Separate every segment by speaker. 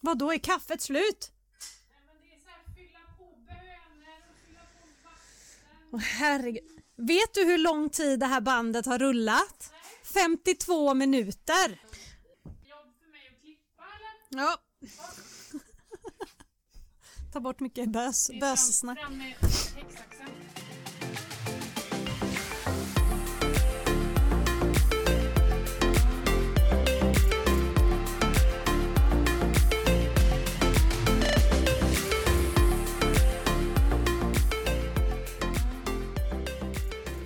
Speaker 1: Vad då är kaffet slut? Åh, herregud. Vet du hur lång tid det här bandet har rullat? 52 minuter. Ja. Ta bort mycket bös, bössnack.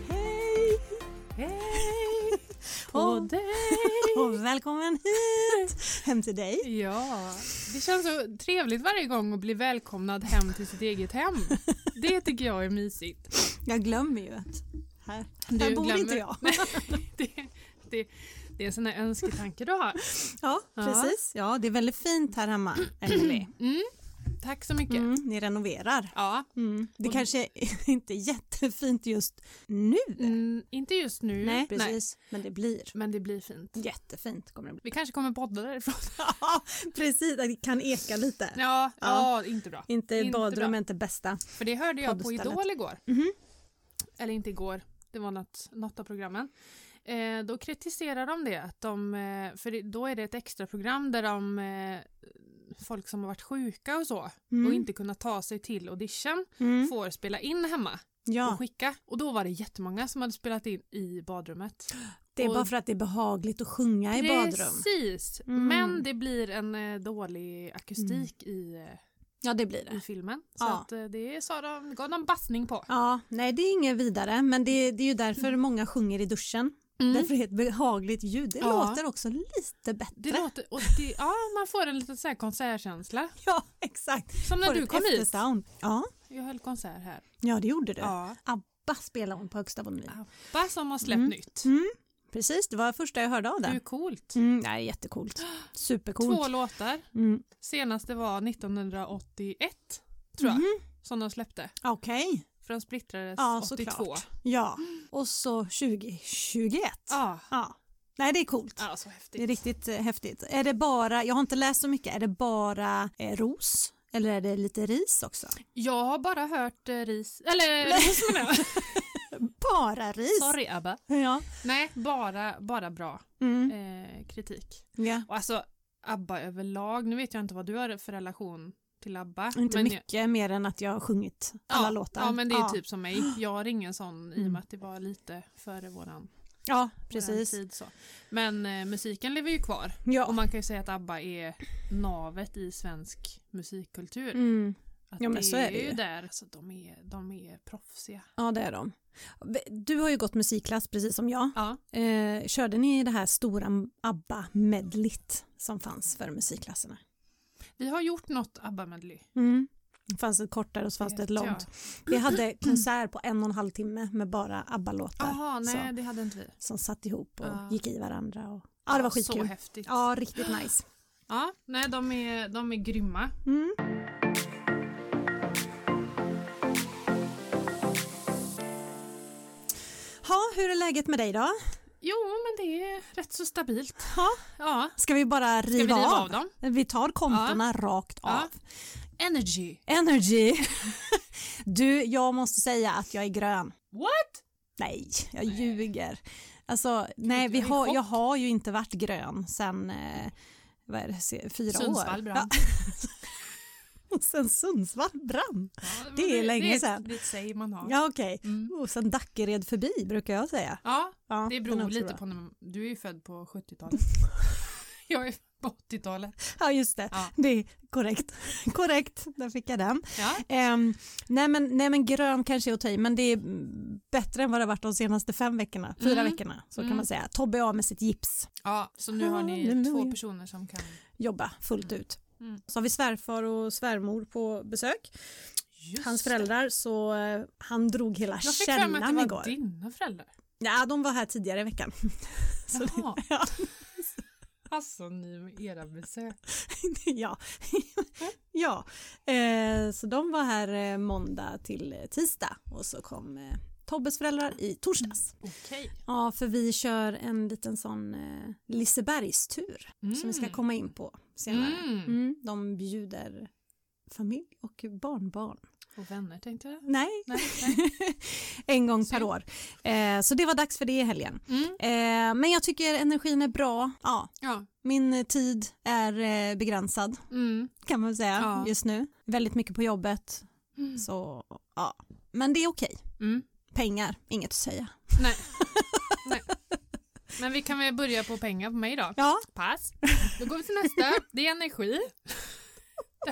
Speaker 1: Hej
Speaker 2: Hej på
Speaker 1: Och-
Speaker 2: dig!
Speaker 1: och välkommen hit! Hem till dig.
Speaker 2: Ja, det känns så trevligt varje gång att bli välkomnad hem till sitt eget hem. Det tycker jag är mysigt.
Speaker 1: Jag glömmer ju att här,
Speaker 2: Du
Speaker 1: här bor
Speaker 2: glömmer-
Speaker 1: inte jag.
Speaker 2: Nej, det, det, det är en sån där önsketanke du har.
Speaker 1: Ja,
Speaker 2: Ja.
Speaker 1: precis. Ja, det är väldigt fint här hemma. Emily.
Speaker 2: Mm, tack så mycket.
Speaker 1: Mm, ni renoverar.
Speaker 2: Ja,
Speaker 1: Det kanske är inte är jättefint just nu.
Speaker 2: mm, inte just nu.
Speaker 1: Nej, precis. Men det blir.
Speaker 2: Men det blir fint.
Speaker 1: Jättefint kommer det bli.
Speaker 2: Vi kanske kommer podda därifrån.
Speaker 1: Ja, precis. Det kan eka lite.
Speaker 2: Ja,
Speaker 1: Ja.
Speaker 2: ja. inte bra.
Speaker 1: Inte,
Speaker 2: Inte
Speaker 1: badrum
Speaker 2: bra.
Speaker 1: är inte bästa.
Speaker 2: För det hörde jag på
Speaker 1: Poddstället. Mhm.
Speaker 2: Idol igår. Eller inte igår, det var något, något av programmen. Eh, då kritiserar de det, att de, eh, för det- då är det ett extra program där de eh, folk som har varit sjuka och så och inte kunnat ta sig till audition
Speaker 1: Mm.
Speaker 2: får spela in hemma och
Speaker 1: Ja,
Speaker 2: skicka. Och då var det jättemånga som hade spelat in i badrummet.
Speaker 1: det är
Speaker 2: och-
Speaker 1: bara för att det är behagligt att sjunga i badrum.
Speaker 2: Precis!
Speaker 1: Mm.
Speaker 2: Men det blir en eh, dålig akustik i, eh,
Speaker 1: Ja, det blir
Speaker 2: i
Speaker 1: det.
Speaker 2: filmen. Så
Speaker 1: Ja.
Speaker 2: att, eh, det sa de, gav de bassning på.
Speaker 1: Ja, nej det är inget vidare, men det, det är ju därför många sjunger i duschen.
Speaker 2: Mm.
Speaker 1: Därför är det ett behagligt ljud. Det
Speaker 2: Ja.
Speaker 1: låter också lite bättre.
Speaker 2: Det låter, och det, ja, man får en liten så här konsertkänsla.
Speaker 1: Ja, exakt.
Speaker 2: Som när
Speaker 1: Får
Speaker 2: du
Speaker 1: ett
Speaker 2: kom hit.
Speaker 1: eftersound. Ja.
Speaker 2: Jag höll konsert här.
Speaker 1: ja, det gjorde du.
Speaker 2: Ja.
Speaker 1: ABBA spelade hon på högsta volym.
Speaker 2: Abba som har släppt nytt.
Speaker 1: Precis, det var det första jag hörde av
Speaker 2: Det är
Speaker 1: den.
Speaker 2: ju coolt.
Speaker 1: Mm. Mm, nej, jättecoolt. Supercoolt.
Speaker 2: Två låtar.
Speaker 1: Mm.
Speaker 2: Senaste var 1981, tror jag, som de släppte.
Speaker 1: Okej.
Speaker 2: För de splittrades
Speaker 1: Mhm. Ja,
Speaker 2: 82.
Speaker 1: såklart. Ja. Och så 2021.
Speaker 2: Ja,
Speaker 1: Ja. Nej, det är coolt.
Speaker 2: ja, så
Speaker 1: Det är
Speaker 2: häftigt.
Speaker 1: riktigt eh, häftigt. Är det bara, jag har inte läst så mycket, är det bara eh, ros? Eller är det lite ris också?
Speaker 2: Jag har bara hört eh, ris... Eller ris menar jag.
Speaker 1: Bara ris?
Speaker 2: Sorry, Abba.
Speaker 1: Ja.
Speaker 2: Nej, bara, bara bra
Speaker 1: Mm.
Speaker 2: eh, kritik.
Speaker 1: ja.
Speaker 2: Och alltså, ABBA överlag, nu vet jag inte vad du har för relation till ABBA.
Speaker 1: Inte
Speaker 2: men jag-
Speaker 1: mycket mer än att jag har sjungit alla
Speaker 2: ja,
Speaker 1: låtar.
Speaker 2: Ja, men det är
Speaker 1: ja.
Speaker 2: typ som mig. Jag har ingen sån i och med att det var lite före våran,
Speaker 1: Ja,
Speaker 2: våran
Speaker 1: precis.
Speaker 2: tid. Så. Men eh, musiken lever ju kvar. Och
Speaker 1: Ja.
Speaker 2: man kan ju säga att ABBA är navet i svensk musikkultur.
Speaker 1: Mm.
Speaker 2: Att
Speaker 1: Ja, men så är det ju.
Speaker 2: där. Alltså, de, är, de är proffsiga.
Speaker 1: ja, det är de. Du har ju gått musikklass precis som jag.
Speaker 2: Ja.
Speaker 1: Eh, körde ni det här stora ABBA-medlit som fanns för musikklasserna?
Speaker 2: Vi har gjort något ABBA-medley.
Speaker 1: Mm. Det fanns ett kortare och så fanns det ett
Speaker 2: vet jag.
Speaker 1: långt. Vi hade konsert på en och en halv timme med bara ABBA-låtar.
Speaker 2: Jaha, nej
Speaker 1: Så,
Speaker 2: det hade inte vi.
Speaker 1: som satt ihop och
Speaker 2: Ja.
Speaker 1: gick i varandra. Och... Ja, det var
Speaker 2: Ah. Så
Speaker 1: skitkul.
Speaker 2: häftigt.
Speaker 1: Ja, riktigt nice.
Speaker 2: Ja, nej de är, de är grymma.
Speaker 1: Mm.
Speaker 2: Ah.
Speaker 1: Ha, hur är läget med dig då?
Speaker 2: Jo, men det är rätt så stabilt.
Speaker 1: Ja.
Speaker 2: Ja,
Speaker 1: Ska vi bara riva,
Speaker 2: ska vi riva
Speaker 1: av?
Speaker 2: av Ah. dem?
Speaker 1: Vi tar kontona rakt
Speaker 2: Ja.
Speaker 1: av.
Speaker 2: Energy.
Speaker 1: Energy. Du, jag måste säga att jag är grön.
Speaker 2: What?
Speaker 1: Nej, jag ljuger. Alltså, nej, vi
Speaker 2: Jag är i
Speaker 1: har,
Speaker 2: chock.
Speaker 1: jag har ju inte varit grön sen eh, vad är det, se- fyra
Speaker 2: Sundsvall
Speaker 1: år.
Speaker 2: brann.
Speaker 1: Ja, sen Sundsvall brann.
Speaker 2: Ja, men
Speaker 1: Det är länge sedan.
Speaker 2: Det är ett säg man har.
Speaker 1: Ja, okej.
Speaker 2: Mm.
Speaker 1: Och sen Dackered förbi brukar jag säga.
Speaker 2: Ja,
Speaker 1: Ja,
Speaker 2: det
Speaker 1: den är
Speaker 2: beror
Speaker 1: också
Speaker 2: lite
Speaker 1: bra.
Speaker 2: på när man, Du är ju född på 70-talet. jag är på 80-talet.
Speaker 1: Ja, just det.
Speaker 2: Ja.
Speaker 1: Det är korrekt. korrekt, där fick jag den.
Speaker 2: Ja.
Speaker 1: Ehm, nej, men, nej, men grön kanske är att ta i, men det är mm, bättre än vad det har varit de senaste fem veckorna, fyra
Speaker 2: Mm.
Speaker 1: veckorna. Så kan
Speaker 2: Mm.
Speaker 1: man säga. Tobbe är av med sitt gips.
Speaker 2: ja, så nu har ni
Speaker 1: Halleluja.
Speaker 2: två personer som kan...
Speaker 1: Jobba fullt ut.
Speaker 2: Mm.
Speaker 1: Så har vi svärfar och svärmor på besök.
Speaker 2: Just
Speaker 1: Hans
Speaker 2: det.
Speaker 1: föräldrar, så eh, han drog hela
Speaker 2: Jag fick för mig att det
Speaker 1: källan
Speaker 2: var
Speaker 1: igår.
Speaker 2: dina föräldrar.
Speaker 1: Ja, de var här tidigare i veckan. Så det-
Speaker 2: Jaha.
Speaker 1: Ja.
Speaker 2: Alltså ni med era besök.
Speaker 1: ja.
Speaker 2: Mm.
Speaker 1: ja. Eh, så de var här eh, måndag till eh, tisdag och så kom eh, Tobbes föräldrar i torsdags.
Speaker 2: Okej.
Speaker 1: Ja, för vi kör en liten sån eh, Lisebergstur som vi ska
Speaker 2: Mm.
Speaker 1: komma in på senare.
Speaker 2: Mm.
Speaker 1: Mm, de bjuder familj och barnbarn.
Speaker 2: Och vänner tänkte jag.
Speaker 1: Nej,
Speaker 2: Nej, nej.
Speaker 1: en gång per
Speaker 2: Synd.
Speaker 1: år. Eh, så det var dags för det i helgen.
Speaker 2: Mm.
Speaker 1: Eh, men jag tycker energin är bra. Ja,
Speaker 2: Ja.
Speaker 1: min eh, tid är eh, begränsad
Speaker 2: Mm.
Speaker 1: kan man väl säga
Speaker 2: Ja.
Speaker 1: just nu. Väldigt mycket på jobbet.
Speaker 2: Mm.
Speaker 1: Så, ja. Men det är okej.
Speaker 2: Mm.
Speaker 1: Pengar, inget att säga.
Speaker 2: Nej. nej. Men vi kan väl börja på pengar på mig då.
Speaker 1: Ja,
Speaker 2: Pass. Då går vi till nästa. Det är energi.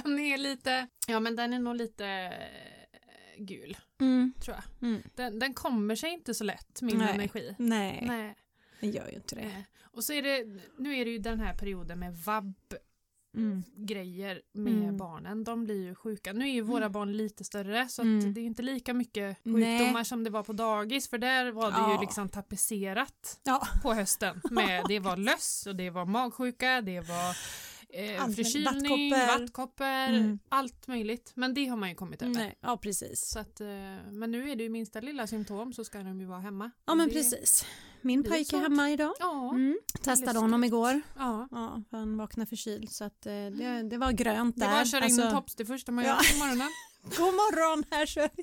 Speaker 2: Den är lite, ja men den är nog lite eh, gul
Speaker 1: mm,
Speaker 2: tror jag.
Speaker 1: mm.
Speaker 2: Den, den kommer sig inte så lätt, min
Speaker 1: Nej.
Speaker 2: energi.
Speaker 1: Nej,
Speaker 2: Nej.
Speaker 1: det gör ju inte det.
Speaker 2: Eh, Och så är det, nu är det ju den här perioden med vab-grejer
Speaker 1: Mm.
Speaker 2: med
Speaker 1: Mm.
Speaker 2: barnen. De blir ju sjuka. Nu är ju våra barn lite större så att
Speaker 1: Mm.
Speaker 2: det är inte lika mycket
Speaker 1: Nej.
Speaker 2: sjukdomar som det var på dagis för där var det
Speaker 1: Ja.
Speaker 2: ju liksom tapetserat
Speaker 1: Ja.
Speaker 2: på hösten. Med, det var löss och det var magsjuka, det var eh,
Speaker 1: Allt,
Speaker 2: förkylning,
Speaker 1: vattkoppor.
Speaker 2: vattkoppor,
Speaker 1: Mm.
Speaker 2: allt möjligt. Men det har man ju kommit över.
Speaker 1: Nej, ja, precis.
Speaker 2: Typ. Så att, eh, men nu är det ju minsta lilla symptom så ska de ju vara hemma.
Speaker 1: Ja,
Speaker 2: Och
Speaker 1: men
Speaker 2: det-
Speaker 1: precis. Min
Speaker 2: det är
Speaker 1: pojke är
Speaker 2: sant.
Speaker 1: hemma idag.
Speaker 2: Ja,
Speaker 1: Mm. Testade honom igår.
Speaker 2: ja.
Speaker 1: Ja, för han vaknade förkyld så att, eh, det, det var grönt
Speaker 2: Mm. Det
Speaker 1: där.
Speaker 2: var att köra in en
Speaker 1: Alltså,
Speaker 2: tops det första man
Speaker 1: Ja.
Speaker 2: gör på morgonen.
Speaker 1: God morgon, här kör vi.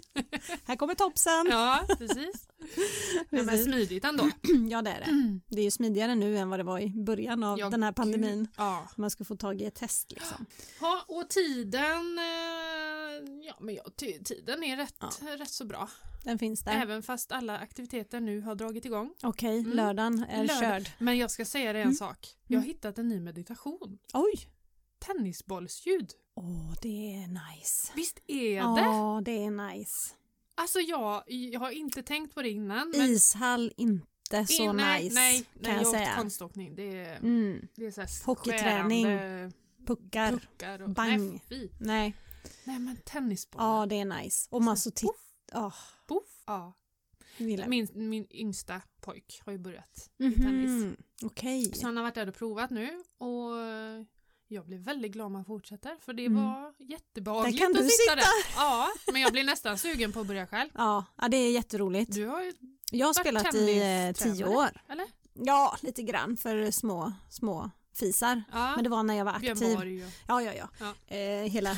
Speaker 1: Här kommer topsen. Ja.
Speaker 2: Ja, precis. Ja, men
Speaker 1: Precis.
Speaker 2: smidigt ändå.
Speaker 1: det är det. Det är ju smidigare nu än vad det var i början av
Speaker 2: Mm. Ja,
Speaker 1: den här pandemin.
Speaker 2: gud. Ja.
Speaker 1: Man ska få tag i ett test liksom.
Speaker 2: ja, och tiden... eh, Ja, men ja, ti- tiden är rätt, rätt så bra.
Speaker 1: Den finns där.
Speaker 2: Även fast alla aktiviteter nu har dragit igång.
Speaker 1: Okej,
Speaker 2: Mm.
Speaker 1: lördagen är
Speaker 2: Lördag.
Speaker 1: körd.
Speaker 2: Men jag ska säga dig en
Speaker 1: Mm.
Speaker 2: sak. Jag har
Speaker 1: Mm.
Speaker 2: hittat en ny meditation.
Speaker 1: Oj!
Speaker 2: Tennisbollsljud.
Speaker 1: Åh, det är nice.
Speaker 2: Visst är
Speaker 1: Ja,
Speaker 2: det?
Speaker 1: det är nice.
Speaker 2: Alltså jag, jag har inte tänkt på det innan.
Speaker 1: Ishall inte så
Speaker 2: Eh, nej,
Speaker 1: nice
Speaker 2: nej, nej,
Speaker 1: kan jag,
Speaker 2: jag har åkt
Speaker 1: säga.
Speaker 2: konståkning. Det är,
Speaker 1: Mm.
Speaker 2: det är så här
Speaker 1: Hockeyträning.
Speaker 2: skärande
Speaker 1: Puckar.
Speaker 2: puckar och...
Speaker 1: Bang.
Speaker 2: Nej, fy.
Speaker 1: Nej,
Speaker 2: Nej men
Speaker 1: ja
Speaker 2: tennisbollar.
Speaker 1: det är nice. Och man så tittar... Oh,
Speaker 2: Poff. Ja. Min, min yngsta pojk har ju börjat. tennis.
Speaker 1: Okej.
Speaker 2: Så han har varit där och provat nu och jag blir väldigt glad om han fortsätter för det
Speaker 1: Mm.
Speaker 2: var
Speaker 1: Där
Speaker 2: jättebehagligt
Speaker 1: kan
Speaker 2: att
Speaker 1: du
Speaker 2: sitta, där. Ja, men jag blir nästan sugen på att börja själv.
Speaker 1: Ja, ja, det är jätteroligt.
Speaker 2: Du har ju,
Speaker 1: Jag har
Speaker 2: Vart
Speaker 1: spelat i eh, tio
Speaker 2: tennistränare,
Speaker 1: år.
Speaker 2: eller?
Speaker 1: Ja, lite grann för små, små fisar.
Speaker 2: Ja,
Speaker 1: Men det var när jag var aktiv.
Speaker 2: Björn Borg och
Speaker 1: Ja, ja, ja.
Speaker 2: Ja.
Speaker 1: Eh, hela.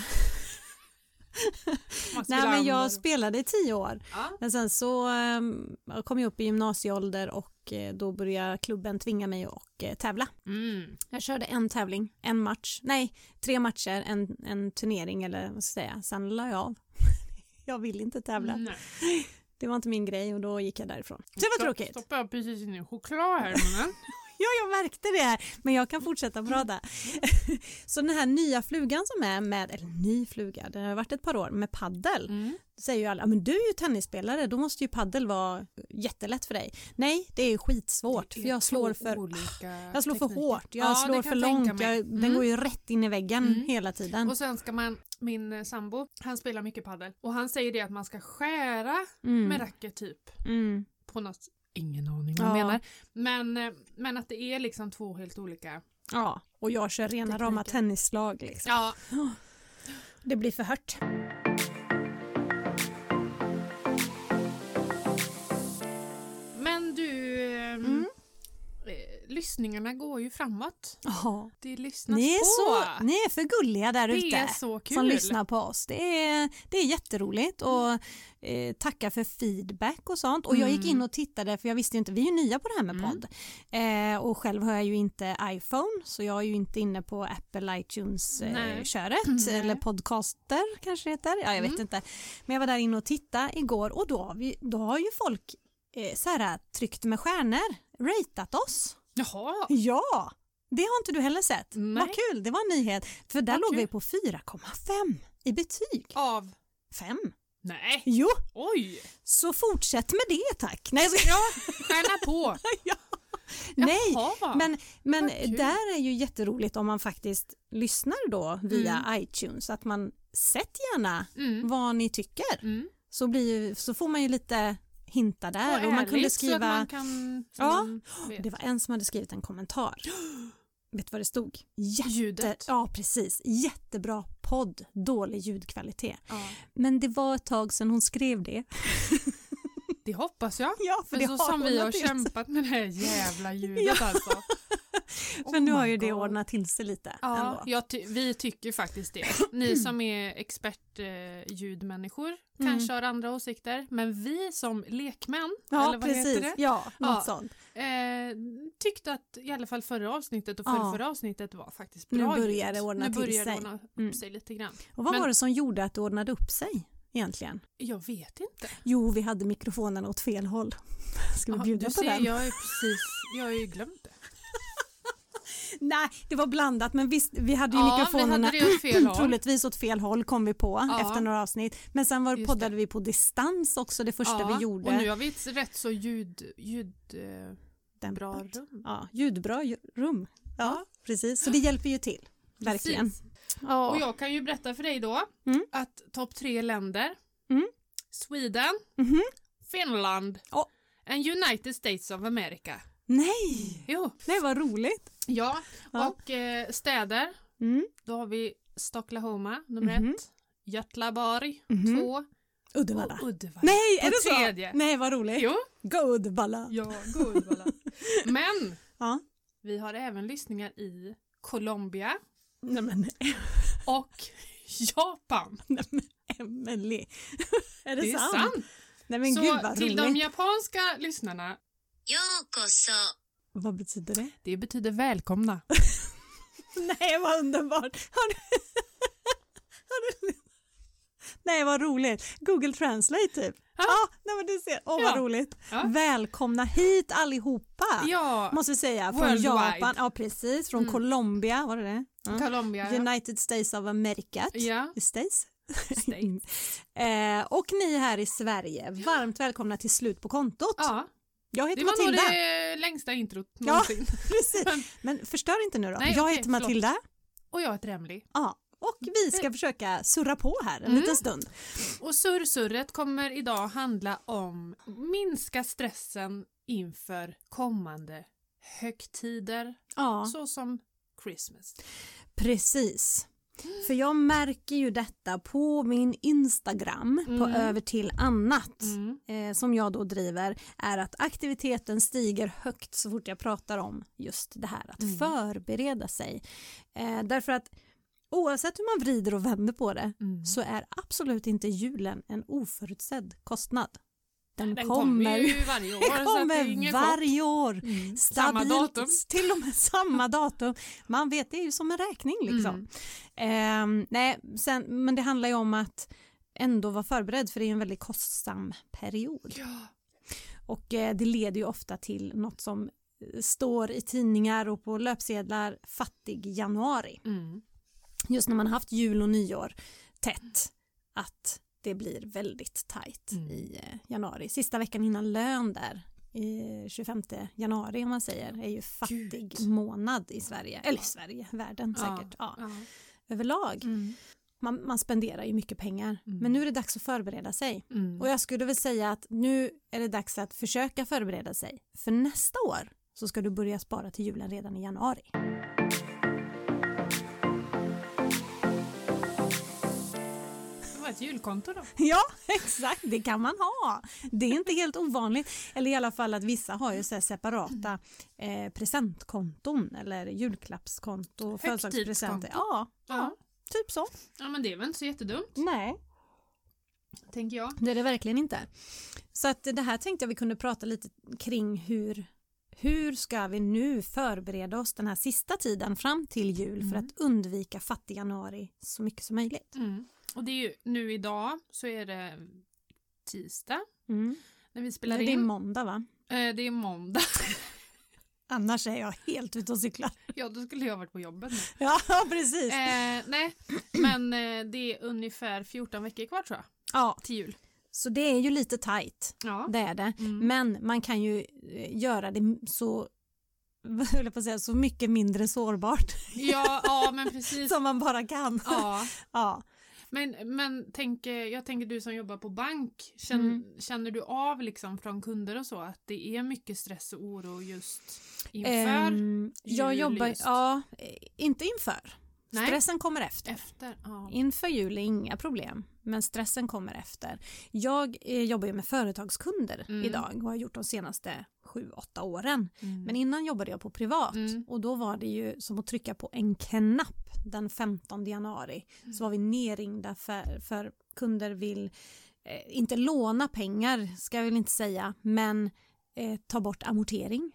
Speaker 2: Mats
Speaker 1: Nej, men
Speaker 2: Wilander
Speaker 1: jag
Speaker 2: och-
Speaker 1: spelade i tio år.
Speaker 2: ja.
Speaker 1: Men sen så eh, kom jag upp i gymnasieålder och eh, då började klubben tvinga mig att eh, tävla.
Speaker 2: Mm.
Speaker 1: Jag körde en tävling, en match, nej tre matcher, en, en turnering eller vad ska jag säga. Sen la jag av. Jag vill inte tävla.
Speaker 2: Nej.
Speaker 1: Det var inte min grej och då gick jag därifrån. Så det var
Speaker 2: Stopp-
Speaker 1: tråkigt.
Speaker 2: Stoppar jag precis in i en choklad här men.
Speaker 1: Ja, jag märkte det här, men jag kan fortsätta prata. Så den här nya flugan som är med, eller ny fluga, det har varit ett par år, med paddel.
Speaker 2: Mm.
Speaker 1: Då säger ju alla, "Ja, men du är ju tennisspelare, då måste ju paddel vara jättelätt för dig. Nej, det är ju skitsvårt,
Speaker 2: Det är
Speaker 1: för jag
Speaker 2: två
Speaker 1: slår för
Speaker 2: olika
Speaker 1: jag slår för
Speaker 2: tekniker.
Speaker 1: hårt, jag
Speaker 2: Ja, det
Speaker 1: slår
Speaker 2: kan
Speaker 1: för
Speaker 2: jag
Speaker 1: långt,
Speaker 2: tänka
Speaker 1: jag,
Speaker 2: mig.
Speaker 1: den
Speaker 2: Mm.
Speaker 1: går ju rätt in i väggen
Speaker 2: Mm.
Speaker 1: hela tiden.
Speaker 2: Och sen ska man, min eh, sambo, han spelar mycket paddel och han säger det att man ska skära
Speaker 1: Mm.
Speaker 2: med racket typ
Speaker 1: Mm.
Speaker 2: på något, ingen aning vad han
Speaker 1: Ja.
Speaker 2: menar, men, eh, men att det är liksom två helt olika.
Speaker 1: Ja, och jag kör rena rama
Speaker 2: Tekniken.
Speaker 1: tennisslag liksom.
Speaker 2: Ja,
Speaker 1: Det blir för hört.
Speaker 2: men du, eh,
Speaker 1: Mm.
Speaker 2: eh, lyssningarna går ju framåt.
Speaker 1: Ja.
Speaker 2: Det lyssnas
Speaker 1: Ni är,
Speaker 2: på.
Speaker 1: så, ni är för gulliga där ute.
Speaker 2: det är så kul.
Speaker 1: som lyssnar på oss. Det är, det är jätteroligt och eh, tacka för feedback och sånt. Och jag gick in och tittade för jag visste ju inte, vi är ju nya på det här med
Speaker 2: Mm.
Speaker 1: podd. Eh, och själv har jag ju inte iPhone så jag är ju inte inne på Apple
Speaker 2: Nej.
Speaker 1: iTunes-köret
Speaker 2: Nej.
Speaker 1: eller podcaster kanske det heter. Ja, jag vet
Speaker 2: Mm.
Speaker 1: inte. Men jag var där inne och tittade igår och då har, vi, då har ju folk eh, så här, tryckt med stjärnor, ratat oss.
Speaker 2: Jaha,
Speaker 1: Ja! Det har inte du heller sett.
Speaker 2: Nej.
Speaker 1: Vad kul, det var en nyhet. För där
Speaker 2: Vad
Speaker 1: låg
Speaker 2: kul.
Speaker 1: vi på 4,5 i betyg.
Speaker 2: av.
Speaker 1: Fem?
Speaker 2: Nej,
Speaker 1: Jo,
Speaker 2: oj!
Speaker 1: så fortsätt med det tack. Nej, jag ska-
Speaker 2: Ja, stjärna på.
Speaker 1: nej.
Speaker 2: Jaha.
Speaker 1: men men
Speaker 2: vad kul.
Speaker 1: där är ju jätteroligt om man faktiskt lyssnar då via iTunes, att man sätt gärna
Speaker 2: Mm.
Speaker 1: vad ni tycker.
Speaker 2: Mm.
Speaker 1: Så, blir ju, så får man ju lite hinta där. Och, man kunde
Speaker 2: ärligt, så
Speaker 1: skriva,
Speaker 2: att man kan... Mm. så
Speaker 1: Ja.
Speaker 2: man vet.
Speaker 1: det var en som hade skrivit en kommentar. Vet du vad det stod? Jätte,
Speaker 2: Ljudet.
Speaker 1: Eh, Ja, precis. Jättebra podd, dålig ljudkvalitet.
Speaker 2: Ja.
Speaker 1: Men det var ett tag sedan hon skrev det.
Speaker 2: Det hoppas jag.
Speaker 1: Ja, för,
Speaker 2: För
Speaker 1: det
Speaker 2: så
Speaker 1: har
Speaker 2: som vi har
Speaker 1: ordnat till sig.
Speaker 2: kämpat med det här jävla ljudet alltså.
Speaker 1: För nu
Speaker 2: Oh
Speaker 1: har
Speaker 2: my
Speaker 1: ju det
Speaker 2: God.
Speaker 1: ordnat till sig lite.
Speaker 2: Ja,
Speaker 1: ändå.
Speaker 2: jag ty- vi tycker faktiskt det. Ni som är expert eh, ljudmänniskor
Speaker 1: Mm.
Speaker 2: kanske har andra åsikter, men vi som lekmän,
Speaker 1: Ja,
Speaker 2: eller vad
Speaker 1: precis.
Speaker 2: heter det?
Speaker 1: Ja, något
Speaker 2: Ja.
Speaker 1: sånt.
Speaker 2: Eh, tyckte att i alla fall förra avsnittet och
Speaker 1: Ja.
Speaker 2: förra, avsnittet var faktiskt
Speaker 1: Nu
Speaker 2: bra
Speaker 1: börjar
Speaker 2: ljud.
Speaker 1: det ordna
Speaker 2: nu
Speaker 1: till
Speaker 2: börjar
Speaker 1: sig.
Speaker 2: det ordna upp
Speaker 1: Mm.
Speaker 2: sig lite grann.
Speaker 1: Och vad
Speaker 2: Men-
Speaker 1: var det som gjorde att det ordnade upp sig egentligen?
Speaker 2: Jag vet inte.
Speaker 1: Jo, vi hade mikrofonen åt fel håll. Ska vi
Speaker 2: Ja,
Speaker 1: bjuda
Speaker 2: du
Speaker 1: på
Speaker 2: ser,
Speaker 1: den?
Speaker 2: Jag, är precis, jag har ju glömt det.
Speaker 1: Nej, det var blandat men visst, vi hade ju
Speaker 2: Ja, vi
Speaker 1: mikrofonerna
Speaker 2: hade det åt fel håll.
Speaker 1: troligtvis åt fel håll kom vi på
Speaker 2: Ja.
Speaker 1: efter några avsnitt. Men sen var,
Speaker 2: Just
Speaker 1: poddade vi på distans också det första
Speaker 2: Ja,
Speaker 1: vi gjorde.
Speaker 2: Och nu har vi ett rätt så ljud, ljud eh,
Speaker 1: Dämpat.
Speaker 2: bra rum.
Speaker 1: Ja, ljudbra ju- rum. Ja, precis. Så det hjälper ju till. Verkligen.
Speaker 2: Precis. Och
Speaker 1: Ja.
Speaker 2: jag kan ju berätta för dig då
Speaker 1: Mm.
Speaker 2: att topp tre länder
Speaker 1: Mm.
Speaker 2: Sweden,
Speaker 1: Mhm.
Speaker 2: Finland
Speaker 1: Ja.
Speaker 2: and United States of America.
Speaker 1: Nej,
Speaker 2: Jo.
Speaker 1: nej vad roligt.
Speaker 2: Ja,
Speaker 1: Ja.
Speaker 2: och eh, städer
Speaker 1: Mm.
Speaker 2: då har vi Stocklahoma nummer
Speaker 1: Mhm.
Speaker 2: ett, Götlaborg
Speaker 1: Mhm.
Speaker 2: två
Speaker 1: Uddevalla.
Speaker 2: och Uddevalla.
Speaker 1: Nej,
Speaker 2: På
Speaker 1: är det så?
Speaker 2: tredje.
Speaker 1: Nej, vad roligt.
Speaker 2: Jo,
Speaker 1: Go Uddevalla.
Speaker 2: ja, gå Uddevalla. Men
Speaker 1: Ja.
Speaker 2: vi har även lyssningar i Colombia
Speaker 1: Nej men
Speaker 2: och Japan.
Speaker 1: Emelie. är det,
Speaker 2: Det är
Speaker 1: sant?
Speaker 2: sant.
Speaker 1: Nej men
Speaker 2: Så
Speaker 1: gud vad
Speaker 2: till
Speaker 1: roligt.
Speaker 2: de japanska lyssnarna
Speaker 1: Vad betyder det?
Speaker 2: Det betyder välkomna.
Speaker 1: Nej, vad underbart! Har du... Har du... Nej, vad roligt. Google Translate typ. Ja,
Speaker 2: Ja.
Speaker 1: nej, men du ser. Åh, vad
Speaker 2: Ja.
Speaker 1: roligt.
Speaker 2: Ja.
Speaker 1: Välkomna hit allihopa!
Speaker 2: Ja,
Speaker 1: Måste vi säga. Från
Speaker 2: Worldwide.
Speaker 1: Japan, ja precis. Från
Speaker 2: Mm.
Speaker 1: Colombia, var det det? Ja.
Speaker 2: Colombia. ja.
Speaker 1: United States of America.
Speaker 2: Ja,
Speaker 1: States.
Speaker 2: States.
Speaker 1: Eh, och ni här i Sverige, varmt välkomna till Slut på kontot.
Speaker 2: ja.
Speaker 1: Jag
Speaker 2: Det
Speaker 1: heter
Speaker 2: var nog
Speaker 1: Matilda.
Speaker 2: det längsta introt
Speaker 1: Ja.
Speaker 2: någonsin.
Speaker 1: Precis. Men förstör inte nu då.
Speaker 2: Nej,
Speaker 1: jag
Speaker 2: okej,
Speaker 1: heter
Speaker 2: förlåt.
Speaker 1: Matilda.
Speaker 2: Och jag heter Emily.
Speaker 1: Ja, och vi ska försöka surra på här en
Speaker 2: Mm.
Speaker 1: liten stund.
Speaker 2: Och surrsurret kommer idag handla om minska stressen inför kommande högtider
Speaker 1: Ja,
Speaker 2: såsom Christmas.
Speaker 1: precis.
Speaker 2: Mm.
Speaker 1: För jag märker ju detta på min Instagram, på
Speaker 2: Mm.
Speaker 1: över till annat.
Speaker 2: Mm.
Speaker 1: eh, som jag då driver är att aktiviteten stiger högt så fort jag pratar om just det här att
Speaker 2: Mm.
Speaker 1: förbereda sig. Eh, därför att oavsett hur man vrider och vänder på det
Speaker 2: Mm.
Speaker 1: så är absolut inte julen en oförutsedd kostnad. Den,
Speaker 2: Den kommer
Speaker 1: kommer,
Speaker 2: ju varje år. så att det
Speaker 1: den
Speaker 2: är
Speaker 1: kommer
Speaker 2: ingen
Speaker 1: varje år.
Speaker 2: chock. Mm. Samma
Speaker 1: Stabilt,
Speaker 2: datum.
Speaker 1: Till och med samma datum. Man vet, det är ju som en räkning liksom.
Speaker 2: Mm.
Speaker 1: Ehm, nej, sen, men det handlar ju om att ändå vara förberedd för det är ju en väldigt kostsam period.
Speaker 2: Ja.
Speaker 1: Och eh, det leder ju ofta till något som eh, står i tidningar och på löpsedlar fattig januari.
Speaker 2: Mm.
Speaker 1: Just när man har haft jul och nyår tätt att det blir väldigt tajt
Speaker 2: Mm.
Speaker 1: i eh, januari. Sista veckan innan lön där eh, 25 januari om man säger är ju fattig
Speaker 2: Gud.
Speaker 1: månad i Sverige, eller i Sverige, världen säkert, ja.
Speaker 2: Ja.
Speaker 1: överlag.
Speaker 2: Mm.
Speaker 1: Man, man spenderar ju mycket pengar
Speaker 2: Mm.
Speaker 1: men nu är det dags att förbereda sig.
Speaker 2: Mm.
Speaker 1: Och jag skulle väl säga att nu är det dags att försöka förbereda sig. För nästa år så ska du börja spara till julen redan i januari.
Speaker 2: Det var ett julkonto då.
Speaker 1: Ja, exakt. Det kan man ha. Det är inte helt ovanligt. Eller i alla fall att vissa har ju så här separata eh, presentkonton eller julklappskonto, födelsedagspresenter. Ja,
Speaker 2: Ja.
Speaker 1: typ så.
Speaker 2: ja, men det är väl inte så jättedumt,
Speaker 1: Nej,
Speaker 2: tänker jag.
Speaker 1: det är det verkligen inte. Så att det här tänkte jag vi kunde prata lite kring hur hur ska vi nu förbereda oss den här sista tiden fram till jul för
Speaker 2: Mm.
Speaker 1: att undvika fattig januari så mycket som möjligt?
Speaker 2: Mm. Och det är ju nu idag så är det tisdag
Speaker 1: Mm.
Speaker 2: när vi
Speaker 1: Det
Speaker 2: spelar
Speaker 1: är
Speaker 2: in.
Speaker 1: måndag va?
Speaker 2: Eh, det är måndag.
Speaker 1: Annars är jag helt ute och cyklar.
Speaker 2: ja, då skulle jag varit på jobbet nu.
Speaker 1: Ja, precis.
Speaker 2: Eh, nej, men eh, det är ungefär 14 veckor kvar tror jag,
Speaker 1: Ja,
Speaker 2: till jul.
Speaker 1: så det är ju lite tajt,
Speaker 2: Ja.
Speaker 1: det är det.
Speaker 2: Mm.
Speaker 1: Men man kan ju eh, göra det så, vad höll jag på att säga, så mycket mindre sårbart
Speaker 2: Ja, ja, men precis.
Speaker 1: som man bara kan.
Speaker 2: Ja.
Speaker 1: Ja.
Speaker 2: Men, men tänk, eh, jag tänker du som jobbar på bank, känner,
Speaker 1: Mm.
Speaker 2: känner du av liksom från kunder och så att det är mycket stress och oro just inför?
Speaker 1: Ehm, jag
Speaker 2: jul
Speaker 1: jobbar,
Speaker 2: just?
Speaker 1: ja, eh, inte inför
Speaker 2: Nej.
Speaker 1: Stressen kommer efter.
Speaker 2: Efter? Ja.
Speaker 1: Inför jul är inga problem, men stressen kommer efter. Jag eh, jobbar ju med företagskunder
Speaker 2: Mm.
Speaker 1: idag och har gjort de senaste sju, åtta åren.
Speaker 2: Mm.
Speaker 1: Men innan jobbade jag på privat
Speaker 2: Mm.
Speaker 1: och då var det ju som att trycka på en knapp den 15 januari.
Speaker 2: Mm.
Speaker 1: Så var vi nerringda för, för kunder vill, eh, inte låna pengar ska jag väl inte säga, men eh, ta bort amortering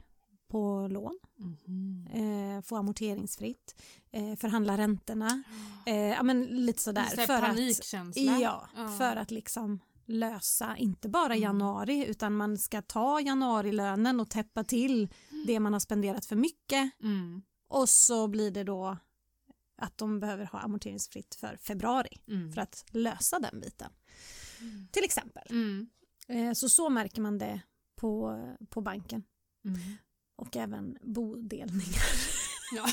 Speaker 1: på lån,
Speaker 2: Mhm.
Speaker 1: eh, få amorteringsfritt, eh, förhandla räntorna, eh, ja men lite sådär.
Speaker 2: Ah. Lite så här
Speaker 1: för att,
Speaker 2: panikkänsla. Ah.
Speaker 1: ja, för att liksom lösa, inte bara
Speaker 2: Mm.
Speaker 1: januari, utan man ska ta januarilönen och täppa till det man har spenderat för mycket
Speaker 2: Mm.
Speaker 1: och så blir det då att de behöver ha amorteringsfritt för februari
Speaker 2: Mm.
Speaker 1: för att lösa den biten. Till exempel.
Speaker 2: Mm.
Speaker 1: Eh, Så så märker man det på, på banken
Speaker 2: Mm.
Speaker 1: och även bodelningar.
Speaker 2: Ja.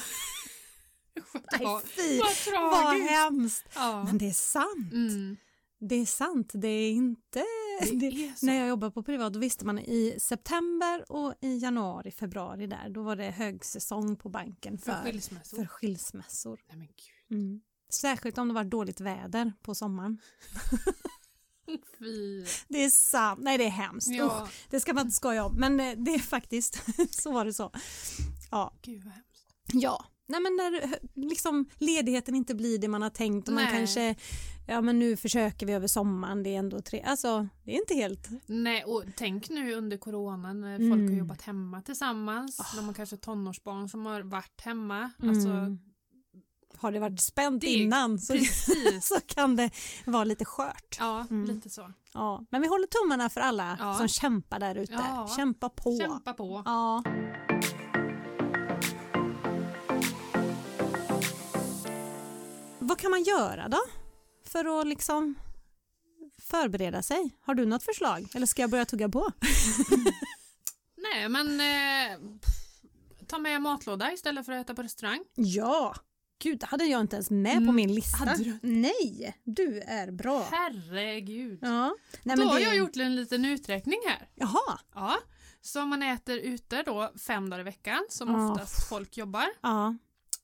Speaker 1: Nej,
Speaker 2: Vad
Speaker 1: fy, vad
Speaker 2: tragiskt!
Speaker 1: hemskt!
Speaker 2: Ja.
Speaker 1: Men det är sant.
Speaker 2: Mm.
Speaker 1: Det är sant. Det är inte...
Speaker 2: Det
Speaker 1: Det,
Speaker 2: är så.
Speaker 1: när jag jobbade på privat då visste man i september och i januari, februari där, då var det högsäsong på banken
Speaker 2: För
Speaker 1: för,
Speaker 2: skilsmässor.
Speaker 1: för skilsmässor.
Speaker 2: Nej, men gud.
Speaker 1: Mm. Särskilt om det var dåligt väder på sommaren.
Speaker 2: Fy.
Speaker 1: Det är sant. Nej, det är hemskt. Usch,
Speaker 2: Ja.
Speaker 1: det ska man inte skoja om, men eh, det är faktiskt så var det så. Ja.
Speaker 2: Gud vad hemskt.
Speaker 1: ja. Nej, men när eh, liksom, ledigheten inte blir det man har tänkt och man
Speaker 2: Nej.
Speaker 1: kanske, ja men nu försöker vi över sommaren, det är ändå tre, alltså det är inte helt,
Speaker 2: Nej, och tänk nu under coronan när
Speaker 1: Mm. Ah.
Speaker 2: folk har jobbat hemma tillsammans. När man kanske har tonårsbarn som har varit hemma. Alltså,
Speaker 1: Mm. har det varit spänt
Speaker 2: Det-
Speaker 1: innan så,
Speaker 2: precis.
Speaker 1: så kan det vara lite skört.
Speaker 2: Ja,
Speaker 1: Mm.
Speaker 2: lite så.
Speaker 1: Ja. Men vi håller tummarna för alla
Speaker 2: Ja.
Speaker 1: som kämpar där ute.
Speaker 2: Ja.
Speaker 1: Kämpa på.
Speaker 2: Kämpa på.
Speaker 1: Ja. Vad kan man göra då? För att liksom förbereda sig. Har du något förslag? Eller ska jag börja tugga på?
Speaker 2: Nej, men eh, pff, ta med matlåda istället för att äta på restaurang.
Speaker 1: Ja! Gud, det hade jag inte ens med på
Speaker 2: Mm,
Speaker 1: min lista.
Speaker 2: hade du?
Speaker 1: Nej, du är bra.
Speaker 2: Herregud.
Speaker 1: Ja. Nej,
Speaker 2: då
Speaker 1: men
Speaker 2: har
Speaker 1: det-
Speaker 2: jag gjort en liten uträkning här.
Speaker 1: Jaha.
Speaker 2: Ja, så om man äter ute då fem dagar i veckan som
Speaker 1: Ja.
Speaker 2: oftast folk jobbar.
Speaker 1: Ja.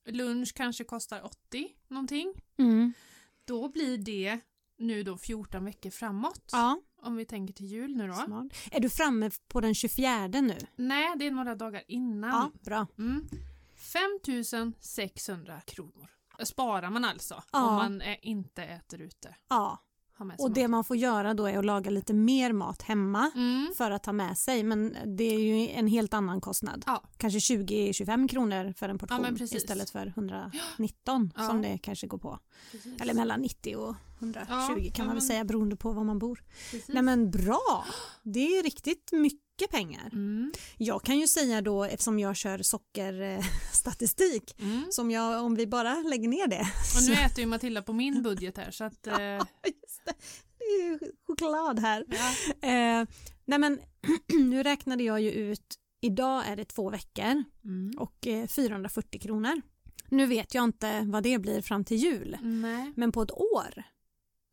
Speaker 2: Lunch kanske kostar 80 någonting.
Speaker 1: Mm.
Speaker 2: Då blir det nu då 14 veckor framåt.
Speaker 1: ja.
Speaker 2: Om vi tänker till jul nu då.
Speaker 1: Smart. Är du framme på den 24 nu?
Speaker 2: Nej, det är några dagar
Speaker 1: Ja,
Speaker 2: innan.
Speaker 1: bra.
Speaker 2: Mm. 5 600 kronor sparar man alltså
Speaker 1: Ja.
Speaker 2: om man eh, inte äter ute.
Speaker 1: Ja.
Speaker 2: Har med sig
Speaker 1: Och det
Speaker 2: mat.
Speaker 1: man får göra då är att laga lite mer mat hemma
Speaker 2: Mm.
Speaker 1: för att ta med sig men det är ju en helt annan kostnad.
Speaker 2: Ja.
Speaker 1: Kanske 20-25 kronor för en portion
Speaker 2: men precis.
Speaker 1: istället för 119
Speaker 2: Ja.
Speaker 1: som det kanske går på. Eller mellan 90 och 120
Speaker 2: Ja,
Speaker 1: kan
Speaker 2: ja,
Speaker 1: man väl
Speaker 2: men-
Speaker 1: säga beroende på var man bor.
Speaker 2: Precis.
Speaker 1: Nej men bra! Det är ju riktigt mycket pengar.
Speaker 2: Mm.
Speaker 1: Jag kan ju säga då eftersom jag kör sockerstatistik
Speaker 2: Mm.
Speaker 1: som jag, om vi bara lägger ner det.
Speaker 2: Och nu äter ju Matilda på min budget här så att... Eh, ja.
Speaker 1: Just det, det är ju choklad här. Eh, nej men nu räknade jag ju ut, idag är det två veckor
Speaker 2: Mm.
Speaker 1: och eh, 440 kronor. Nu vet jag inte vad det blir fram till jul,
Speaker 2: Nej,
Speaker 1: men på ett år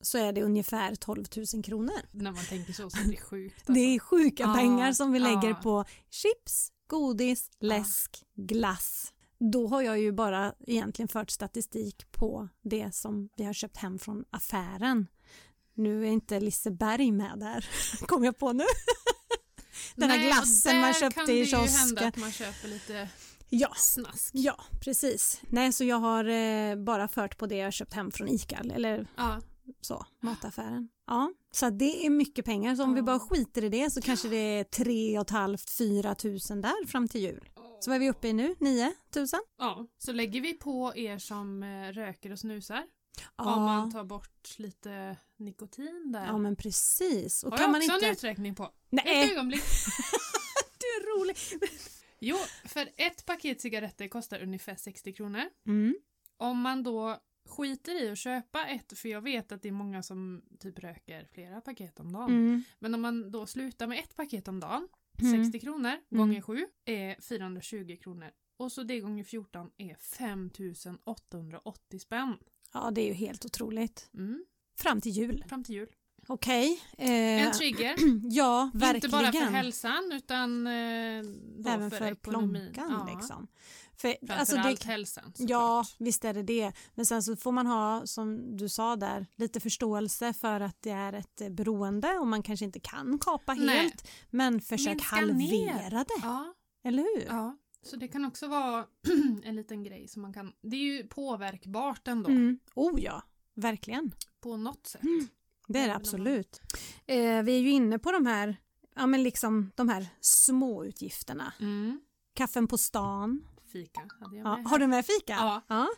Speaker 1: så är det ungefär 12 000 kronor.
Speaker 2: när man tänker så så är det sjukt. Alltså. Ah,
Speaker 1: Det är sjuka
Speaker 2: Ja,
Speaker 1: pengar som vi
Speaker 2: ja.
Speaker 1: lägger på chips,
Speaker 2: Ah.
Speaker 1: godis, läsk, glass. Då har jag ju bara egentligen fört statistik på det som vi har köpt hem från affären. Nu är inte Liseberg med där, kom jag på nu. den här
Speaker 2: Nej, och
Speaker 1: glassen man
Speaker 2: där
Speaker 1: köpte
Speaker 2: kan
Speaker 1: i
Speaker 2: det ju
Speaker 1: kiosken.
Speaker 2: hända att man köper lite
Speaker 1: Ja,
Speaker 2: snask.
Speaker 1: ja precis. Nej, så jag har eh, bara fört på det jag köpt hem från ICA eller
Speaker 2: Ja.
Speaker 1: så, mataffären. Ja, så att det är mycket pengar. Så om vi
Speaker 2: Ja.
Speaker 1: bara skiter i det så kanske det är 3 500-4 tusen där fram till jul. Så vad är vi uppe i nu? 9 tusen?
Speaker 2: Ja, så lägger vi på er som eh, röker och snusar.
Speaker 1: Ja,
Speaker 2: Om man tar bort lite nikotin där.
Speaker 1: ja, men precis. Och
Speaker 2: Har
Speaker 1: kan
Speaker 2: jag
Speaker 1: man
Speaker 2: också
Speaker 1: inte...
Speaker 2: en uträkning på. Ett
Speaker 1: Nej,
Speaker 2: ögonblick.
Speaker 1: du är rolig!
Speaker 2: Jo, för ett paket cigaretter kostar ungefär 60 kronor.
Speaker 1: Mm.
Speaker 2: Om man då skiter i att köpa ett, för jag vet att det är många som typ röker flera paket om dagen.
Speaker 1: Mm.
Speaker 2: Men om man då slutar med ett paket om dagen,
Speaker 1: Mm.
Speaker 2: 60 kronor gånger 7 är 420 kronor. Och så det gånger 14 är 5880 spänn.
Speaker 1: Ja, det är ju helt otroligt.
Speaker 2: Mm.
Speaker 1: Fram till jul.
Speaker 2: Fram till jul.
Speaker 1: Okej.
Speaker 2: En
Speaker 1: Eh,
Speaker 2: trigger.
Speaker 1: ja, verkligen.
Speaker 2: Inte bara för hälsan utan eh, då
Speaker 1: Även
Speaker 2: för,
Speaker 1: för
Speaker 2: ekonomin.
Speaker 1: plånkan.
Speaker 2: Ja,
Speaker 1: Liksom. För, alltså
Speaker 2: Framförallt
Speaker 1: det,
Speaker 2: hälsan
Speaker 1: ja,
Speaker 2: såklart.
Speaker 1: visst är det det. Men sen så får man ha, som du sa där, lite förståelse för att det är ett eh, beroende och man kanske inte kan kapa helt.
Speaker 2: Nej.
Speaker 1: Men försök
Speaker 2: Minska
Speaker 1: halvera det,
Speaker 2: Ja,
Speaker 1: eller hur?
Speaker 2: ja. Så det kan också vara en liten grej som man kan... Det är ju påverkbart ändå
Speaker 1: Mm. Oh ja, verkligen.
Speaker 2: på något sätt.
Speaker 1: Det är det
Speaker 2: Även om
Speaker 1: absolut. Eh, vi är ju inne på de här, ja, men liksom de här små utgifterna.
Speaker 2: Mm.
Speaker 1: Kaffen på stan.
Speaker 2: Fika hade jag
Speaker 1: Ja,
Speaker 2: med.
Speaker 1: har du med fika?
Speaker 2: Ja.
Speaker 1: ja.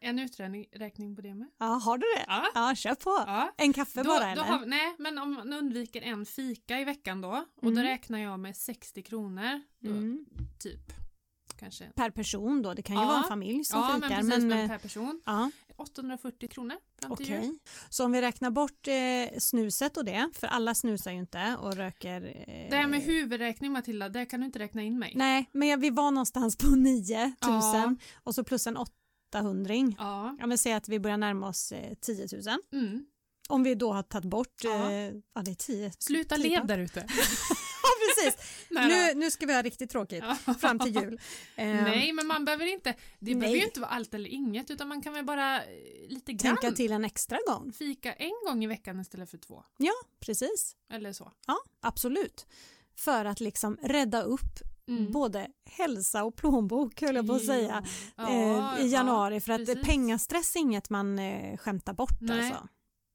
Speaker 2: En uträkning på det med.
Speaker 1: Ja, har du det?
Speaker 2: Ja.
Speaker 1: Ja, kör på.
Speaker 2: ja.
Speaker 1: En kaffe
Speaker 2: Då,
Speaker 1: bara
Speaker 2: då
Speaker 1: eller?
Speaker 2: har, vi- nej, men om man undviker en fika i veckan då och då
Speaker 1: Mm.
Speaker 2: räknar jag med 60 kronor. Då,
Speaker 1: Mm.
Speaker 2: Typ. Kanske.
Speaker 1: Per person då, det kan ju
Speaker 2: Ja.
Speaker 1: vara en familj som
Speaker 2: ja, men
Speaker 1: fikar.
Speaker 2: precis. Men,
Speaker 1: eh,
Speaker 2: per person.
Speaker 1: ja,
Speaker 2: 840 kronor fram till
Speaker 1: okej.
Speaker 2: jul.
Speaker 1: Så om vi räknar bort eh, snuset och det, för alla snusar ju inte och röker. Eh,
Speaker 2: Det här med huvudräkning Matilda, det kan du inte räkna in mig.
Speaker 1: Nej, men jag- vi var någonstans på 9000
Speaker 2: Ja.
Speaker 1: och så plus en 800
Speaker 2: Ja.
Speaker 1: Ja, men säg att vi börjar närma oss eh, 10 000.
Speaker 2: Mm. Om
Speaker 1: Om vi då har tagit bort,
Speaker 2: Ja.
Speaker 1: ja, eh, ja det är 10.
Speaker 2: Sluta
Speaker 1: 10
Speaker 2: lev där ute.
Speaker 1: Ja, precis. nu, nu ska vi ha riktigt tråkigt fram till jul. Eh,
Speaker 2: Nej, men man behöver inte. Det
Speaker 1: Nej.
Speaker 2: behöver ju inte vara allt eller inget, utan man kan väl bara eh, lite grann
Speaker 1: Tänka till en extra gång.
Speaker 2: fika en gång i veckan istället för två.
Speaker 1: Precis.
Speaker 2: Eller så.
Speaker 1: Ja, absolut. För att liksom rädda upp
Speaker 2: Mm.
Speaker 1: både hälsa och plånbok höll jag på att säga
Speaker 2: Ja, ja,
Speaker 1: eh, i januari för att
Speaker 2: precis.
Speaker 1: pengastress är inget man eh, skämtar bort
Speaker 2: Nej,
Speaker 1: alltså.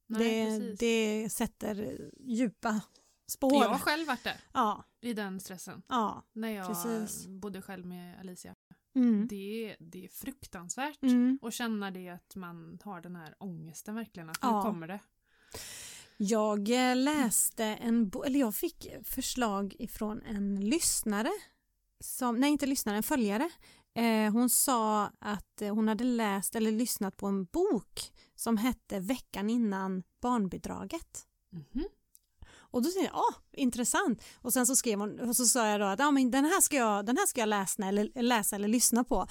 Speaker 2: Nej,
Speaker 1: det,
Speaker 2: precis.
Speaker 1: det sätter djupa spår.
Speaker 2: Jag har själv varit där
Speaker 1: Ja,
Speaker 2: i den stressen
Speaker 1: ja.
Speaker 2: när jag
Speaker 1: Precis.
Speaker 2: bodde själv med Alicia.
Speaker 1: Mm,
Speaker 2: Det, är- det är fruktansvärt.
Speaker 1: mm.
Speaker 2: Och känna det att man har den här ångesten verkligen. Att
Speaker 1: Ja.
Speaker 2: nu kommer det.
Speaker 1: Jag eh, läste en bo- eller jag fick förslag ifrån en lyssnare, som, nej inte lyssnare, en följare. Eh, hon sa att eh, hon hade läst eller lyssnat på en bok som hette Veckan innan barnbidraget.
Speaker 2: Mhm.
Speaker 1: Och då tänkte jag, ah, intressant. Och sen så skrev hon, och så sa jag då att ah, men den, här ska jag, den här ska jag läsa eller, läsa eller lyssna på.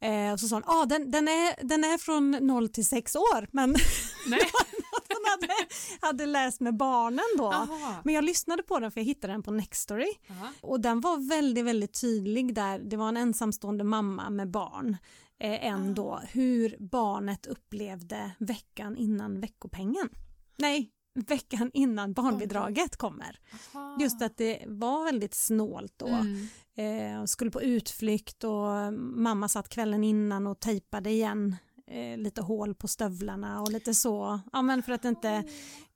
Speaker 1: Eh, och så sa hon, ah, den, den, är, den är från 0 till 6 år, men
Speaker 2: Nej.
Speaker 1: hon hade, hade läst med barnen då.
Speaker 2: Aha.
Speaker 1: Men jag lyssnade på den för jag hittade den på Nextory
Speaker 2: Aha.
Speaker 1: och den var väldigt, väldigt tydlig där. Det var en ensamstående mamma med barn. Eh, en
Speaker 2: Ah.
Speaker 1: då, hur barnet upplevde veckan innan veckopengen. Nej, veckan innan barnbidraget kommer.
Speaker 2: Aha.
Speaker 1: Just att det var väldigt snålt då.
Speaker 2: Ah. Mm.
Speaker 1: Eh, och skulle på utflykt och mamma satt kvällen innan och tejpade igen eh, lite hål på stövlarna och lite så. Ja, men för att
Speaker 2: Ah.
Speaker 1: inte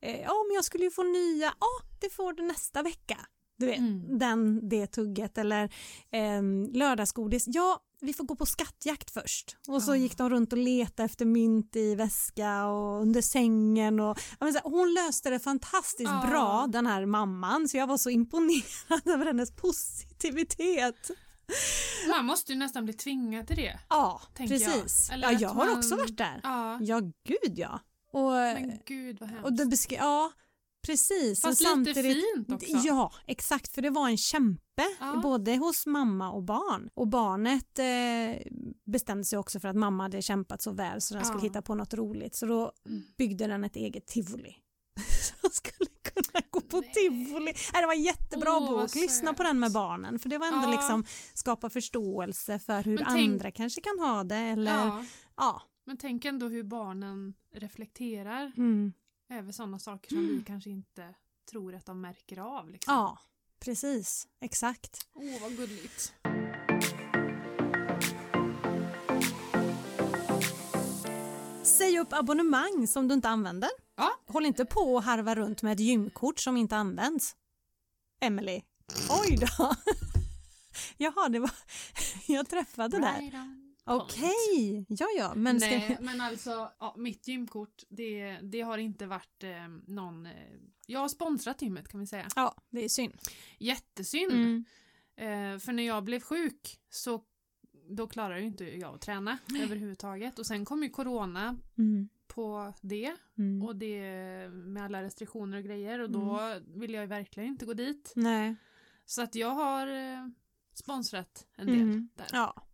Speaker 1: Eh, ja, men jag skulle ju få nya. Ja, det får du nästa vecka. Du vet,
Speaker 2: Mm.
Speaker 1: den, det tugget. Eller eh, lördagsgodis. Ja, vi får gå på skattjakt först. Och så
Speaker 2: Ah.
Speaker 1: gick de runt och letade efter mynt i väska och under sängen. Och, ja, men så här, hon löste det fantastiskt
Speaker 2: Ah.
Speaker 1: bra, den här mamman. Så jag var så imponerad över hennes positivitet.
Speaker 2: Man måste ju nästan bli tvingad till det.
Speaker 1: Ja,
Speaker 2: Tänker jag.
Speaker 1: precis.
Speaker 2: Eller
Speaker 1: Ja,
Speaker 2: att
Speaker 1: jag har
Speaker 2: man-
Speaker 1: också varit där.
Speaker 2: Ja,
Speaker 1: Ja, gud ja. Och,
Speaker 2: men gud vad hemskt.
Speaker 1: och det beskri- ja, precis.
Speaker 2: Fast
Speaker 1: Men
Speaker 2: lite fint också.
Speaker 1: Ja, exakt. För det var en kämpe
Speaker 2: Ja.
Speaker 1: både hos mamma och barn. Och barnet eh, bestämde sig också för att mamma hade kämpat så väl så den skulle
Speaker 2: Ja. Mm.
Speaker 1: hitta på något roligt. Så då byggde den ett eget tivoli. Så skulle kunna gå på
Speaker 2: Nej.
Speaker 1: tivoli. Nej, det var en jättebra
Speaker 2: Åh, vad
Speaker 1: bok. Lyssna på
Speaker 2: söt.
Speaker 1: den med barnen. För det var ändå
Speaker 2: Ja.
Speaker 1: liksom skapa förståelse för hur
Speaker 2: Men tänk-
Speaker 1: andra kanske kan ha det. Eller, ja.
Speaker 2: ja, men tänk ändå hur barnen reflekterar
Speaker 1: Mm.
Speaker 2: över sådana saker som vi kanske inte tror att de märker av. Liksom.
Speaker 1: ja, precis. Exakt.
Speaker 2: Åh, vad gulligt.
Speaker 1: Säg upp abonnemang som du inte använder.
Speaker 2: Ja.
Speaker 1: Håll inte på och harva runt med ett gymkort som inte används. Emelie. Oj då. Jaha, det var... Jag träffade där.
Speaker 2: Right on point.
Speaker 1: Okej. Ja, ja. Men ska...
Speaker 2: Nej, men alltså, ja, mitt gymkort, det, det har inte varit eh, någon... Eh, jag har sponsrat gymmet kan vi säga.
Speaker 1: Ja, det är synd.
Speaker 2: Jättesynd.
Speaker 1: Mm.
Speaker 2: Eh, för när jag blev sjuk så då klarade ju inte jag att träna överhuvudtaget. Och sen kom ju corona
Speaker 1: Mm.
Speaker 2: på det
Speaker 1: Mm.
Speaker 2: och det med alla restriktioner och grejer och då
Speaker 1: Mm.
Speaker 2: ville jag ju verkligen inte gå dit.
Speaker 1: Nej.
Speaker 2: Så att jag har eh, sponsrat en del
Speaker 1: Mm.
Speaker 2: där.
Speaker 1: Ja.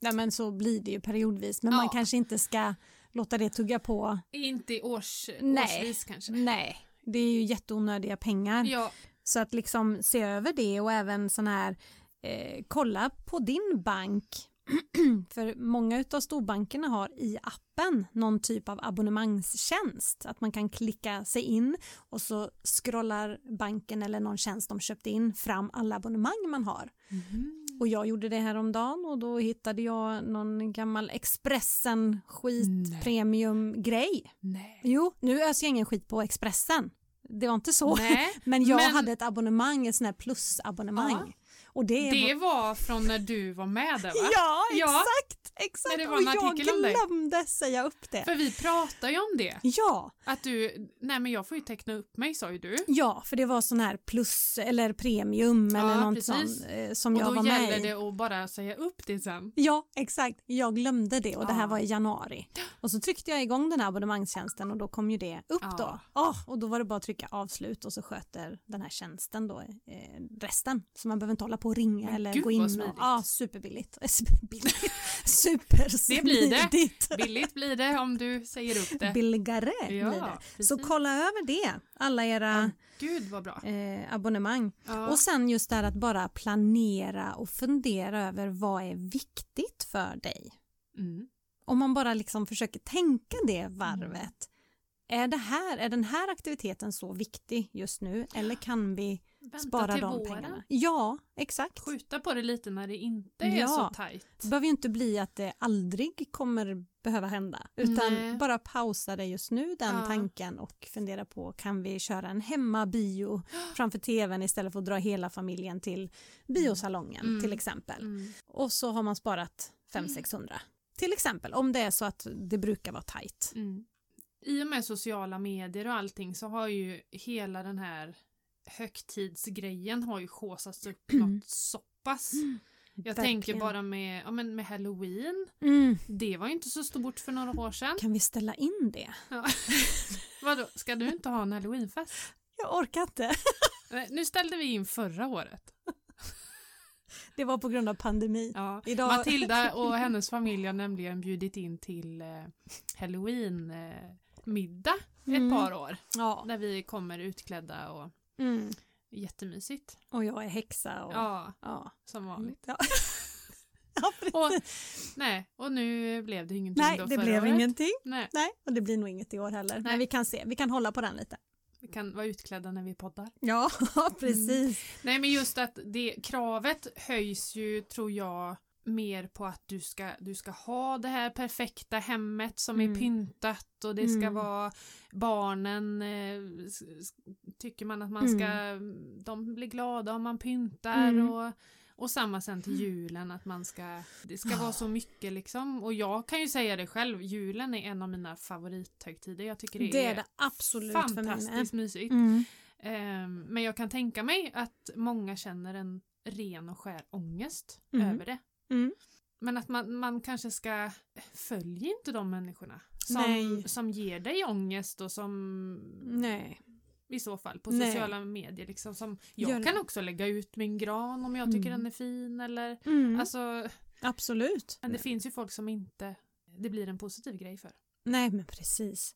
Speaker 1: Nej, men så blir det ju periodvis. Men man
Speaker 2: Ja.
Speaker 1: kanske inte ska låta det tugga på.
Speaker 2: Inte i års,
Speaker 1: Nej.
Speaker 2: årsvis kanske.
Speaker 1: Nej. Det är ju jätteonödiga pengar.
Speaker 2: Ja,
Speaker 1: Så att liksom se över det och även sån här eh, kolla på din bank. För många utav storbankerna har i appen någon typ av abonnemangstjänst. Att man kan klicka sig in och så scrollar banken eller någon tjänst de köpte in fram alla abonnemang man har. Och jag gjorde det här om dagen och då hittade jag någon gammal Expressen skit
Speaker 2: Nej.
Speaker 1: premium grej.
Speaker 2: nej.
Speaker 1: Jo, nu öser jag ingen skit på Expressen. Det var inte så.
Speaker 2: nej.
Speaker 1: Men jag
Speaker 2: Men-
Speaker 1: hade ett abonnemang, ett sån här plusabonnemang.
Speaker 2: Ja.
Speaker 1: Och det,
Speaker 2: Det var från när du var med där va?
Speaker 1: Ja,
Speaker 2: Ja.
Speaker 1: exakt! exakt.
Speaker 2: Men det var
Speaker 1: och
Speaker 2: en
Speaker 1: jag
Speaker 2: artikel om dig.
Speaker 1: glömde säga upp det.
Speaker 2: För vi pratade ju om det.
Speaker 1: Ja,
Speaker 2: Att du, nej men jag får ju teckna upp mig sa ju du.
Speaker 1: ja, för det var sån här plus eller premium
Speaker 2: Ja,
Speaker 1: eller något
Speaker 2: precis.
Speaker 1: sånt eh, som
Speaker 2: och
Speaker 1: jag
Speaker 2: då
Speaker 1: var med
Speaker 2: gäller
Speaker 1: i.
Speaker 2: det att bara säga upp det sen.
Speaker 1: Ja, exakt. Jag glömde det och det här
Speaker 2: Ja.
Speaker 1: var i januari. Och så tryckte jag igång den här abonnemangstjänsten och då kom ju det upp
Speaker 2: Ja.
Speaker 1: då. Ah, och då var det bara att trycka avslut och så sköter den här tjänsten då eh, resten. Så man behöver inte hålla på och ringa
Speaker 2: Men
Speaker 1: eller
Speaker 2: gud,
Speaker 1: gå
Speaker 2: vad
Speaker 1: in och... Ja,
Speaker 2: smidigt.
Speaker 1: ah, superbilligt. Superbilligt. Supersmidigt.
Speaker 2: Det blir det. Billigt blir det om du säger upp det.
Speaker 1: Billigare
Speaker 2: Ja,
Speaker 1: blir det.
Speaker 2: precis.
Speaker 1: Så kolla över det, alla era
Speaker 2: Gud vad bra.
Speaker 1: eh, abonnemang.
Speaker 2: Ja.
Speaker 1: Och sen just det här att bara planera och fundera över vad är viktigt för dig.
Speaker 2: Mm.
Speaker 1: Om man bara liksom försöker tänka det varvet. Är, det här, är den här aktiviteten så viktig just nu eller kan vi
Speaker 2: Vänta
Speaker 1: spara
Speaker 2: till
Speaker 1: de
Speaker 2: våren.
Speaker 1: pengarna? Ja, exakt.
Speaker 2: Skjuta på det lite när det inte är
Speaker 1: Ja.
Speaker 2: så tajt.
Speaker 1: Det behöver ju inte bli att det aldrig kommer behöva hända utan
Speaker 2: Nej.
Speaker 1: bara pausa det just nu den
Speaker 2: Ja.
Speaker 1: tanken och fundera på kan vi köra en hemmabio framför tvn istället för att dra hela familjen till biosalongen
Speaker 2: Mm.
Speaker 1: till exempel.
Speaker 2: Mm.
Speaker 1: Och så har man sparat 500-600 till exempel om det är så att det brukar vara tajt.
Speaker 2: Mm. I och med sociala medier och allting så har ju hela den här högtidsgrejen har ju haussats upp något så pass. Jag tänker
Speaker 1: Verkligen.
Speaker 2: bara med, ja, men med halloween,
Speaker 1: Mm.
Speaker 2: det var ju inte så stort för några år sedan.
Speaker 1: Kan vi ställa in det?
Speaker 2: Vadå, ska du inte ha en halloweenfest?
Speaker 1: Jag orkar inte.
Speaker 2: Nej, Nu ställde vi in förra året.
Speaker 1: Det var på grund av pandemin.
Speaker 2: Ja.
Speaker 1: Idag-
Speaker 2: Matilda och hennes familj har nämligen bjudit in till eh, halloween eh, middag
Speaker 1: Mm.
Speaker 2: ett par år.
Speaker 1: Ja.
Speaker 2: Där vi kommer utklädda och
Speaker 1: Mm.
Speaker 2: jättemysigt.
Speaker 1: Och jag är häxa. Och...
Speaker 2: Ja,
Speaker 1: Ja.
Speaker 2: som vanligt.
Speaker 1: Ja. ja, precis.
Speaker 2: Och, nej, och nu blev det ingenting
Speaker 1: Nej,
Speaker 2: då
Speaker 1: det
Speaker 2: förra
Speaker 1: blev
Speaker 2: året.
Speaker 1: ingenting.
Speaker 2: Nej,
Speaker 1: Nej, och det blir nog inget i år heller.
Speaker 2: Nej.
Speaker 1: Men vi kan se, vi kan hålla på den lite. Mm.
Speaker 2: vi kan vara utklädda när vi poddar.
Speaker 1: Ja, precis.
Speaker 2: Nej, men just att det, kravet höjs ju, tror jag, mer på att du ska, du ska ha det här perfekta hemmet som
Speaker 1: Mm.
Speaker 2: är pyntat och det ska
Speaker 1: Mm.
Speaker 2: vara barnen, eh, s- s- tycker man att man ska, de blir glada om man pyntar
Speaker 1: Mm.
Speaker 2: och och samma sen till julen, att man ska, det ska vara så mycket liksom. Och jag kan ju säga det själv, julen är en av mina favorithögtider. Jag tycker det,
Speaker 1: Det är det absolut för mig med.
Speaker 2: fantastiskt mysigt.
Speaker 1: Mm.
Speaker 2: Ehm, Men jag kan tänka mig att många känner en ren och skär ångest
Speaker 1: Mm.
Speaker 2: över det.
Speaker 1: Mm.
Speaker 2: Men att man, man kanske ska eh, följa inte de människorna som,
Speaker 1: Nej.
Speaker 2: som ger dig ångest och som
Speaker 1: Nej.
Speaker 2: i så fall på
Speaker 1: Nej.
Speaker 2: sociala medier. Liksom, som, jag
Speaker 1: Gör det.
Speaker 2: kan också lägga ut min gran om jag tycker
Speaker 1: Mm.
Speaker 2: den är fin eller
Speaker 1: Mm.
Speaker 2: alltså,
Speaker 1: absolut.
Speaker 2: men det finns ju folk som inte det blir en positiv grej för.
Speaker 1: Nej, men precis.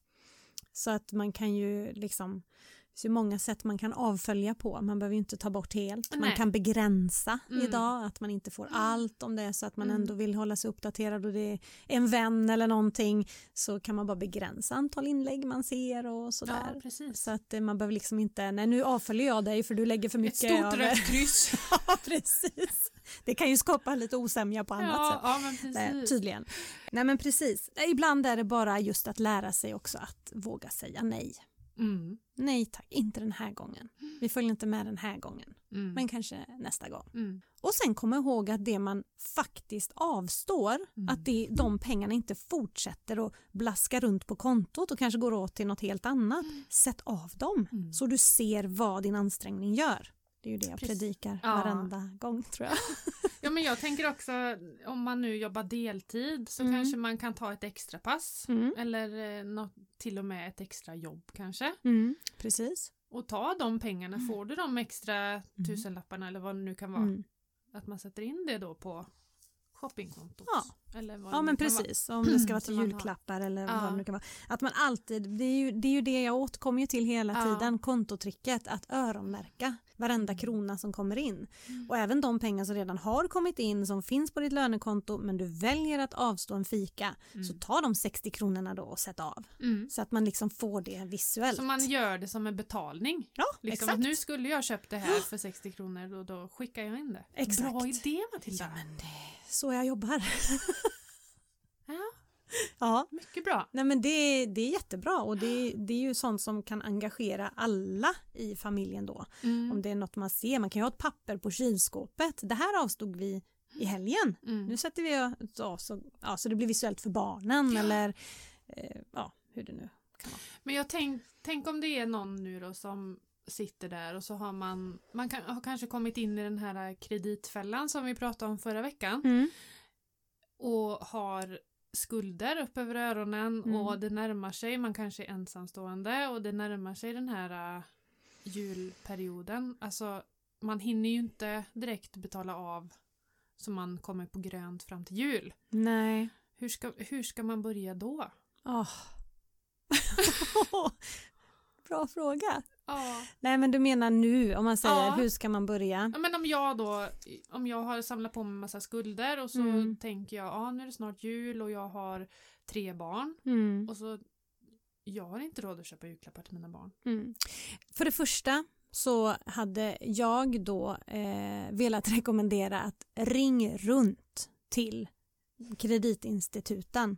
Speaker 1: Så att man kan ju liksom, det finns ju många sätt man kan avfölja på. Man behöver ju inte ta bort helt. Man
Speaker 2: Nej.
Speaker 1: kan begränsa
Speaker 2: Mm.
Speaker 1: idag, att man inte får allt om det är så att man
Speaker 2: Mm.
Speaker 1: ändå vill hålla sig uppdaterad och det är en vän eller någonting så kan man bara begränsa antal inlägg man ser och sådär.
Speaker 2: precis.
Speaker 1: Så att eh, man behöver liksom inte, nej nu avföljer jag dig för du lägger för mycket
Speaker 2: Ett stort
Speaker 1: av...
Speaker 2: rött kryss.
Speaker 1: Ja, precis. Det kan ju skapa lite osämja på annat sätt.
Speaker 2: ja, ja, men
Speaker 1: Nej, typ.
Speaker 2: precis.
Speaker 1: tydligen. Nej men precis. Nej, Ibland är det bara just att lära sig också att våga säga nej.
Speaker 2: Mm,
Speaker 1: Nej tack, inte den här gången. Vi följer inte med den här gången,
Speaker 2: mm,
Speaker 1: men kanske nästa gång.
Speaker 2: mm.
Speaker 1: Och sen komma ihåg att det man faktiskt avstår,
Speaker 2: Mm.
Speaker 1: att det, de pengarna inte fortsätter att blaska runt på kontot och kanske går åt till något helt annat. Sätt av dem
Speaker 2: Mm.
Speaker 1: så du ser vad din ansträngning gör. Det är ju det jag
Speaker 2: Precis.
Speaker 1: predikar
Speaker 2: Ja.
Speaker 1: varenda gång tror jag.
Speaker 2: Ja men jag tänker också om man nu jobbar deltid så
Speaker 1: Mm.
Speaker 2: kanske man kan ta ett extra pass
Speaker 1: Mm.
Speaker 2: eller eh, något, till och med ett extra jobb kanske
Speaker 1: Mm. Precis.
Speaker 2: och ta de pengarna, får du de extra tusenlapparna eller vad det nu kan vara,
Speaker 1: Mm. Mm.
Speaker 2: att man sätter in det då på shoppingkontot.
Speaker 1: Ja.
Speaker 2: Eller vad
Speaker 1: Ja
Speaker 2: det
Speaker 1: men
Speaker 2: nu kan vara.
Speaker 1: precis, om det ska vara till
Speaker 2: Som man har.
Speaker 1: julklappar eller
Speaker 2: Ja.
Speaker 1: vad det nu kan vara. Att man alltid, det är ju det, är ju det jag återkommer ju till hela
Speaker 2: Ja.
Speaker 1: tiden, kontotricket, att öronmärka varenda krona som kommer in.
Speaker 2: Mm.
Speaker 1: Och även de pengar som redan har kommit in som finns på ditt lönekonto men du väljer att avstå en fika, så
Speaker 2: Mm.
Speaker 1: ta de 60 kronorna då och sätt av.
Speaker 2: Mm.
Speaker 1: Så att man liksom får det visuellt.
Speaker 2: Så man gör det som en betalning.
Speaker 1: Ja,
Speaker 2: Liksom
Speaker 1: exakt.
Speaker 2: att nu skulle jag köpt det här för 60 kronor och då skickar jag in det.
Speaker 1: Exakt.
Speaker 2: Bra idé
Speaker 1: Ja,
Speaker 2: Matilda!
Speaker 1: men det är så jag jobbar.
Speaker 2: Ja.
Speaker 1: ja.
Speaker 2: Mycket bra.
Speaker 1: Nej men det, det är jättebra och det, det är ju sånt som kan engagera alla i familjen då.
Speaker 2: Mm.
Speaker 1: Om det är något man ser, man kan ju ha ett papper på kylskåpet. Det här avstod vi i helgen.
Speaker 2: Mm.
Speaker 1: Nu sätter vi så, så, ja, så det blir visuellt för barnen eller eh, ja, hur det nu kan vara.
Speaker 2: Men jag tänk, tänk om det är någon nu då som sitter där och så har man, man kan, har kanske kommit in i den här kreditfällan som vi pratade om förra veckan och har skulder upp över öronen
Speaker 1: Mm.
Speaker 2: och det närmar sig, man kanske är ensamstående och det närmar sig den här äh, julperioden. Alltså man hinner ju inte direkt betala av så man kommer på grönt fram till jul.
Speaker 1: Nej.
Speaker 2: Hur ska, hur ska man börja då?
Speaker 1: Åh. Bra fråga.
Speaker 2: Ja.
Speaker 1: Nej men du menar nu om man säger
Speaker 2: Ja.
Speaker 1: hur ska man börja?
Speaker 2: Ja, men om jag då, om jag har samlat på mig massa skulder och så
Speaker 1: Mm.
Speaker 2: tänker jag, ja ah, nu är det snart jul och jag har tre barn
Speaker 1: Mm.
Speaker 2: och så jag har inte råd att köpa julklappar till mina barn.
Speaker 1: Mm. För det första så hade jag då eh, velat rekommendera att ring runt till kreditinstituten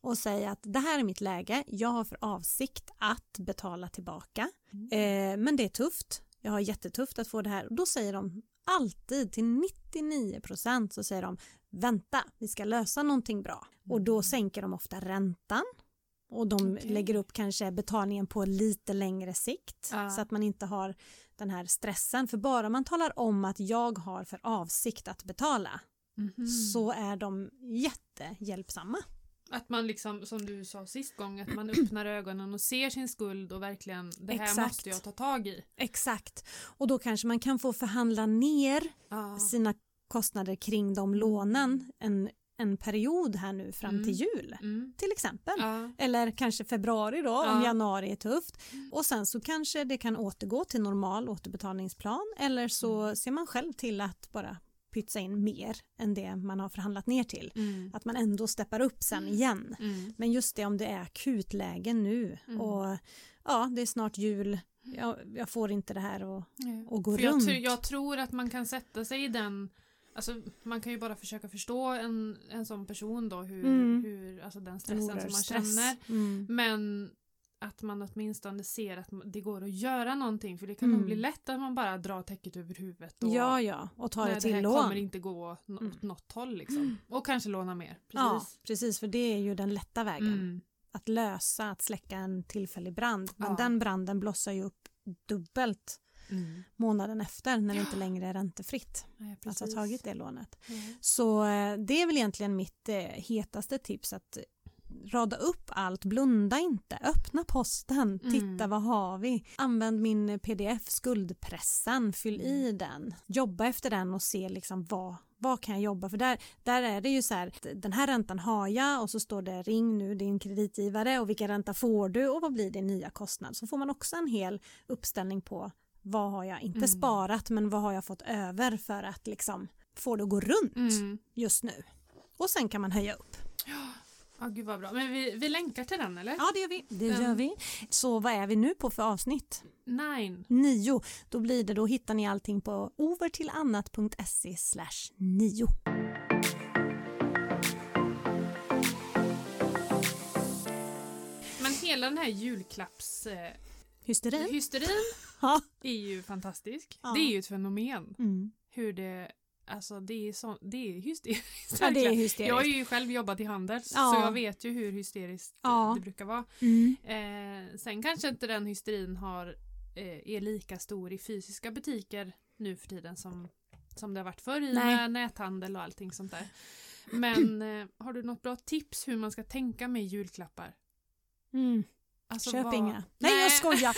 Speaker 1: och säg att det här är mitt läge, jag har för avsikt att betala tillbaka eh, men det är tufft, jag har jättetufft att få det här och då säger de alltid till 99% så säger de vänta, vi ska lösa någonting bra och då sänker de ofta räntan och de
Speaker 2: Okej.
Speaker 1: lägger upp kanske betalningen på lite längre sikt
Speaker 2: Ja.
Speaker 1: så att man inte har den här stressen för bara man talar om att jag har för avsikt att betala
Speaker 2: Mhm.
Speaker 1: så är de jättehjälpsamma.
Speaker 2: Att man liksom, som du sa sist gång, att man öppnar ögonen och ser sin skuld och verkligen, det här
Speaker 1: Exakt.
Speaker 2: måste jag ta tag i.
Speaker 1: Exakt och då kanske man kan få förhandla ner
Speaker 2: Ja.
Speaker 1: sina kostnader kring de lånen en, en period här nu fram
Speaker 2: Mm.
Speaker 1: till jul
Speaker 2: Mm.
Speaker 1: till exempel.
Speaker 2: Ja.
Speaker 1: Eller kanske februari då om
Speaker 2: Ja.
Speaker 1: januari är tufft. Och sen så kanske det kan återgå till normal återbetalningsplan eller så
Speaker 2: Mm.
Speaker 1: ser man själv till att bara pytsa in mer än det man har förhandlat ner till.
Speaker 2: Mm.
Speaker 1: Att man ändå steppar upp sen igen.
Speaker 2: Mm.
Speaker 1: Men just det om det är akutlägen nu
Speaker 2: Mm.
Speaker 1: och ja det är snart jul, jag, jag får inte det här och Och gå
Speaker 2: För jag,
Speaker 1: runt.
Speaker 2: tr- jag tror att man kan sätta sig i den, alltså man kan ju bara försöka förstå en, en sån person då, hur,
Speaker 1: Mm.
Speaker 2: hur alltså den
Speaker 1: en
Speaker 2: stressen som
Speaker 1: oerhörd
Speaker 2: man
Speaker 1: stress.
Speaker 2: känner.
Speaker 1: Mm.
Speaker 2: Men att man åtminstone ser att det går att göra någonting, för det kan nog
Speaker 1: Mm.
Speaker 2: bli lätt att man bara drar täcket över huvudet och
Speaker 1: Ja, ja, och ta
Speaker 2: nej,
Speaker 1: det till
Speaker 2: här
Speaker 1: lån. Mm.
Speaker 2: kommer inte gå åt nå- åt något håll liksom. Och kanske låna mer.
Speaker 1: Ja,
Speaker 2: Precis.
Speaker 1: precis, för det är ju den lätta vägen.
Speaker 2: Mm.
Speaker 1: Att lösa, att släcka en tillfällig brand. Men
Speaker 2: Ja.
Speaker 1: den branden blossar ju upp dubbelt
Speaker 2: Mm.
Speaker 1: månaden efter när det inte längre är räntefritt
Speaker 2: Nej,
Speaker 1: att ha
Speaker 2: precis.
Speaker 1: tagit det lånet.
Speaker 2: Mm.
Speaker 1: Så eh, det är väl egentligen mitt eh, hetaste tips att rada upp allt, blunda inte, öppna posten,
Speaker 2: Mm.
Speaker 1: titta vad har vi, använd min eh, pdf, skuldpressen, fyll i den, jobba efter den och se liksom vad vad kan jag jobba för? Där, där är det ju så här, d- den här räntan har jag och så står det ring nu din kreditgivare och vilken ränta får du och vad blir din nya kostnad? Så får man också en hel uppställning på vad har jag inte
Speaker 2: Mm.
Speaker 1: sparat men vad har jag fått över för att liksom få det att gå runt
Speaker 2: Mm.
Speaker 1: just nu. Och sen kan man höja upp.
Speaker 2: Ja, gud vad bra. Men vi, vi länkar till den eller?
Speaker 1: Ja, det gör vi. Det
Speaker 2: Mm.
Speaker 1: gör vi. Så vad är vi nu på för avsnitt?
Speaker 2: Nine.
Speaker 1: Nio. Då blir det, då hittar ni allting på overtillannat.se slash nio.
Speaker 2: Men hela den här julklapps... Eh,
Speaker 1: Hysterin?
Speaker 2: Hysterin
Speaker 1: Ja.
Speaker 2: är ju fantastisk.
Speaker 1: Ja.
Speaker 2: Det är ju ett fenomen.
Speaker 1: Mm.
Speaker 2: Hur det, alltså det är, så, det är hysteriskt.
Speaker 1: ja, det är
Speaker 2: verkligen. jag har
Speaker 1: hysteriskt.
Speaker 2: ju själv jobbat i handel
Speaker 1: Ja.
Speaker 2: så jag vet ju hur hysteriskt eh,
Speaker 1: Ja.
Speaker 2: det brukar vara.
Speaker 1: Mm.
Speaker 2: Eh, sen kanske inte den hysterin har, eh, är lika stor i fysiska butiker nu för tiden som, som det har varit förr i
Speaker 1: Nej.
Speaker 2: med näthandel och allting sånt där. Men eh, har du något bra tips hur man ska tänka med julklappar?
Speaker 1: Mm.
Speaker 2: Alltså,
Speaker 1: Köp
Speaker 2: vad-
Speaker 1: inga. Nej, jag skojar.